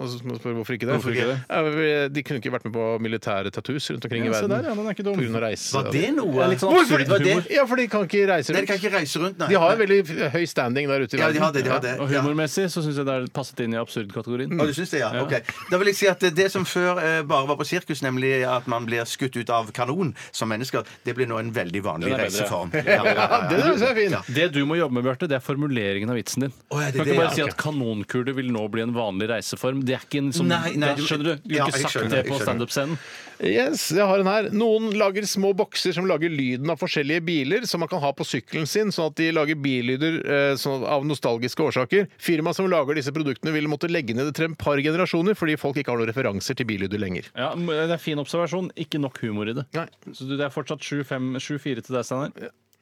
Og så må du spørre Hvorfor ikke det? Hvorfor ikke det? Ja, De kunne ikke vært med på militære tattoos rundt omkring i Ja, se verden. der, ja, den er ikke dum. På grunn av reise. Var det noe? litt sånn Hvorfor? absurd Var det? humor. Ja, for de kan ikke reise Nei, de kan rundt. ikke reise rundt, nei. De har jo veldig høy standing der ute i Ja, de verden. har det. de har det. Og Ja. humormessig så syns jeg det er passet inn i absurd-kategorien. Og du syns det, ja? Ok. Da vil jeg si at det som før eh, bare var på sirkus, nemlig at man blir skutt ut av kanon som mennesker, det blir nå en veldig vanlig Den er bedre. reiseform. Ja, ja, ja, Ja, ja. det synes jeg er fin. Det du må jobbe med, Bjarte, det er formuleringen av vitsen din. Å, ja, det er du kan det, ikke bare ja, si ok. at kanonkule vil nå bli en vanlig reiseform. Det er ikke en som, Nei, nei, det er- du- Skjønner du? Du Ja, har ikke jeg sagt skjønner, det jeg på skjønner. standup-scenen. Yes, jeg har en her. Noen lager små bokser som lager lyden av forskjellige biler, som man kan ha på sykkelen sin, sånn at de lager billyder eh, sånn av nostalgiske årsaker. Firmaet som lager disse produktene, vil måtte legge ned etter en par generasjoner, fordi folk ikke har noen referanser til billyder lenger. Ja, men det er fin observasjon. Ikke nok humor i det. Nei. Så du, det er fortsatt 7-5, 7-4 til deg, Steinar.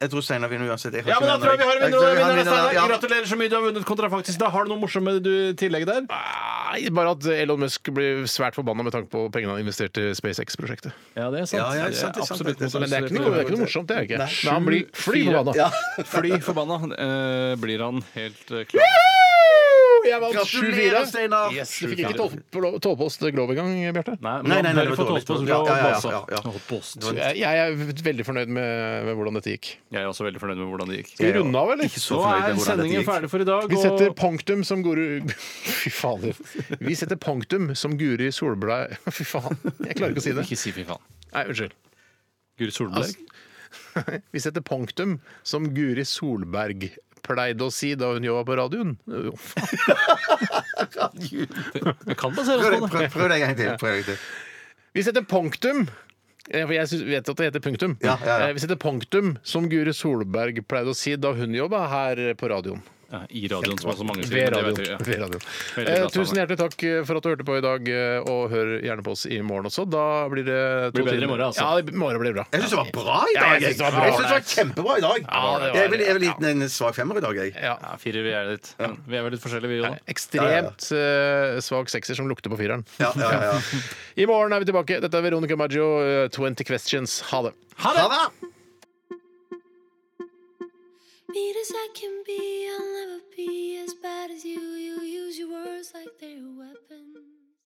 Jeg tror Steinar vinner uansett. Jeg har Ja, ikke men da mer tror jeg vi har en vinner. tror vi og har en en vinner, vinner, Steinar. ja. Gratulerer så mye, du har vunnet kontrafaktisk. Da har du noe morsomme du, tillegg der? Nei, bare at Elon Musk blir svært forbanna med tanke på pengene han investerte i SpaceX-prosjektet. Ja, det er sant. Ja, ja, sant, det er sant, absolutt det er sant. Men det er ikke noe, det er ikke noe morsomt, det er det ikke. Men han blir fly fire. forbanna. Ja. Fly forbanna eh, blir han helt eh, klar. Jeg vant 7-4. Gratulerer, Steinar! Yes, du fikk ikke tolv- tolvpost Glove engang, Bjarte. Nei, nei, Nei, nei, nei, det var fått dårlig. oss altså. på Ja, ja, ja, Blåsa. ja, ja. Holdt på oss. Jeg, jeg er veldig fornøyd med, med hvordan dette gikk. Jeg er også veldig fornøyd med hvordan det gikk. Skal vi runde av, eller? så Så fornøyd med er hvordan dette sendingen gikk. ferdig for i dag. Vi setter Og punktum som Guru Fy fader. Vi setter punktum som Guri Solblei Fy faen, jeg klarer ikke å si det. ikke si fy faen. Nei, unnskyld. Guri Altså- Solberg. Vi setter punktum som Guri Solberg pleide å si da hun jobba på radioen. Å, faen. Vi kan basere oss Prøv, på det. prøv, prøv det en gang til. Prøv en gang til. Vi setter punktum Eh, for jeg synes, vet at det heter punktum. Ja, ja, ja. Eh, Vi setter punktum som Guri Solberg pleide å si da hun jobba her på radioen. Ja, I radioen, som er så mange Ved men det vet radioen. dere, ja. Ved radioen. Veldig Eh, bra, tusen Steinar. hjertelig takk for at du hørte på i dag, eh, og hør gjerne på oss i morgen også. Da blir det to Blir bedre i timer. morgen, altså. Ja, i morgen blir det bra. Jeg syns det var bra i Ja, jeg dag. synes det var bra. Jeg synes det var kjempebra i dag. var det. Jeg er vel- jeg er vel liten en svak femmer i dag, jeg. Ja. Ja, fire, vi er litt men Vi er vel litt forskjellige, vi òg, da. Ekstremt eh, svak sekser som lukter på fireren. Ja, ja, ja. I morgen er vi tilbake. Dette er Veronica Maggio, eh, 20 Questions. Ha det! Ha det! Mean as I can be, I'll never be as bad as you. You use your words like they're a weapon.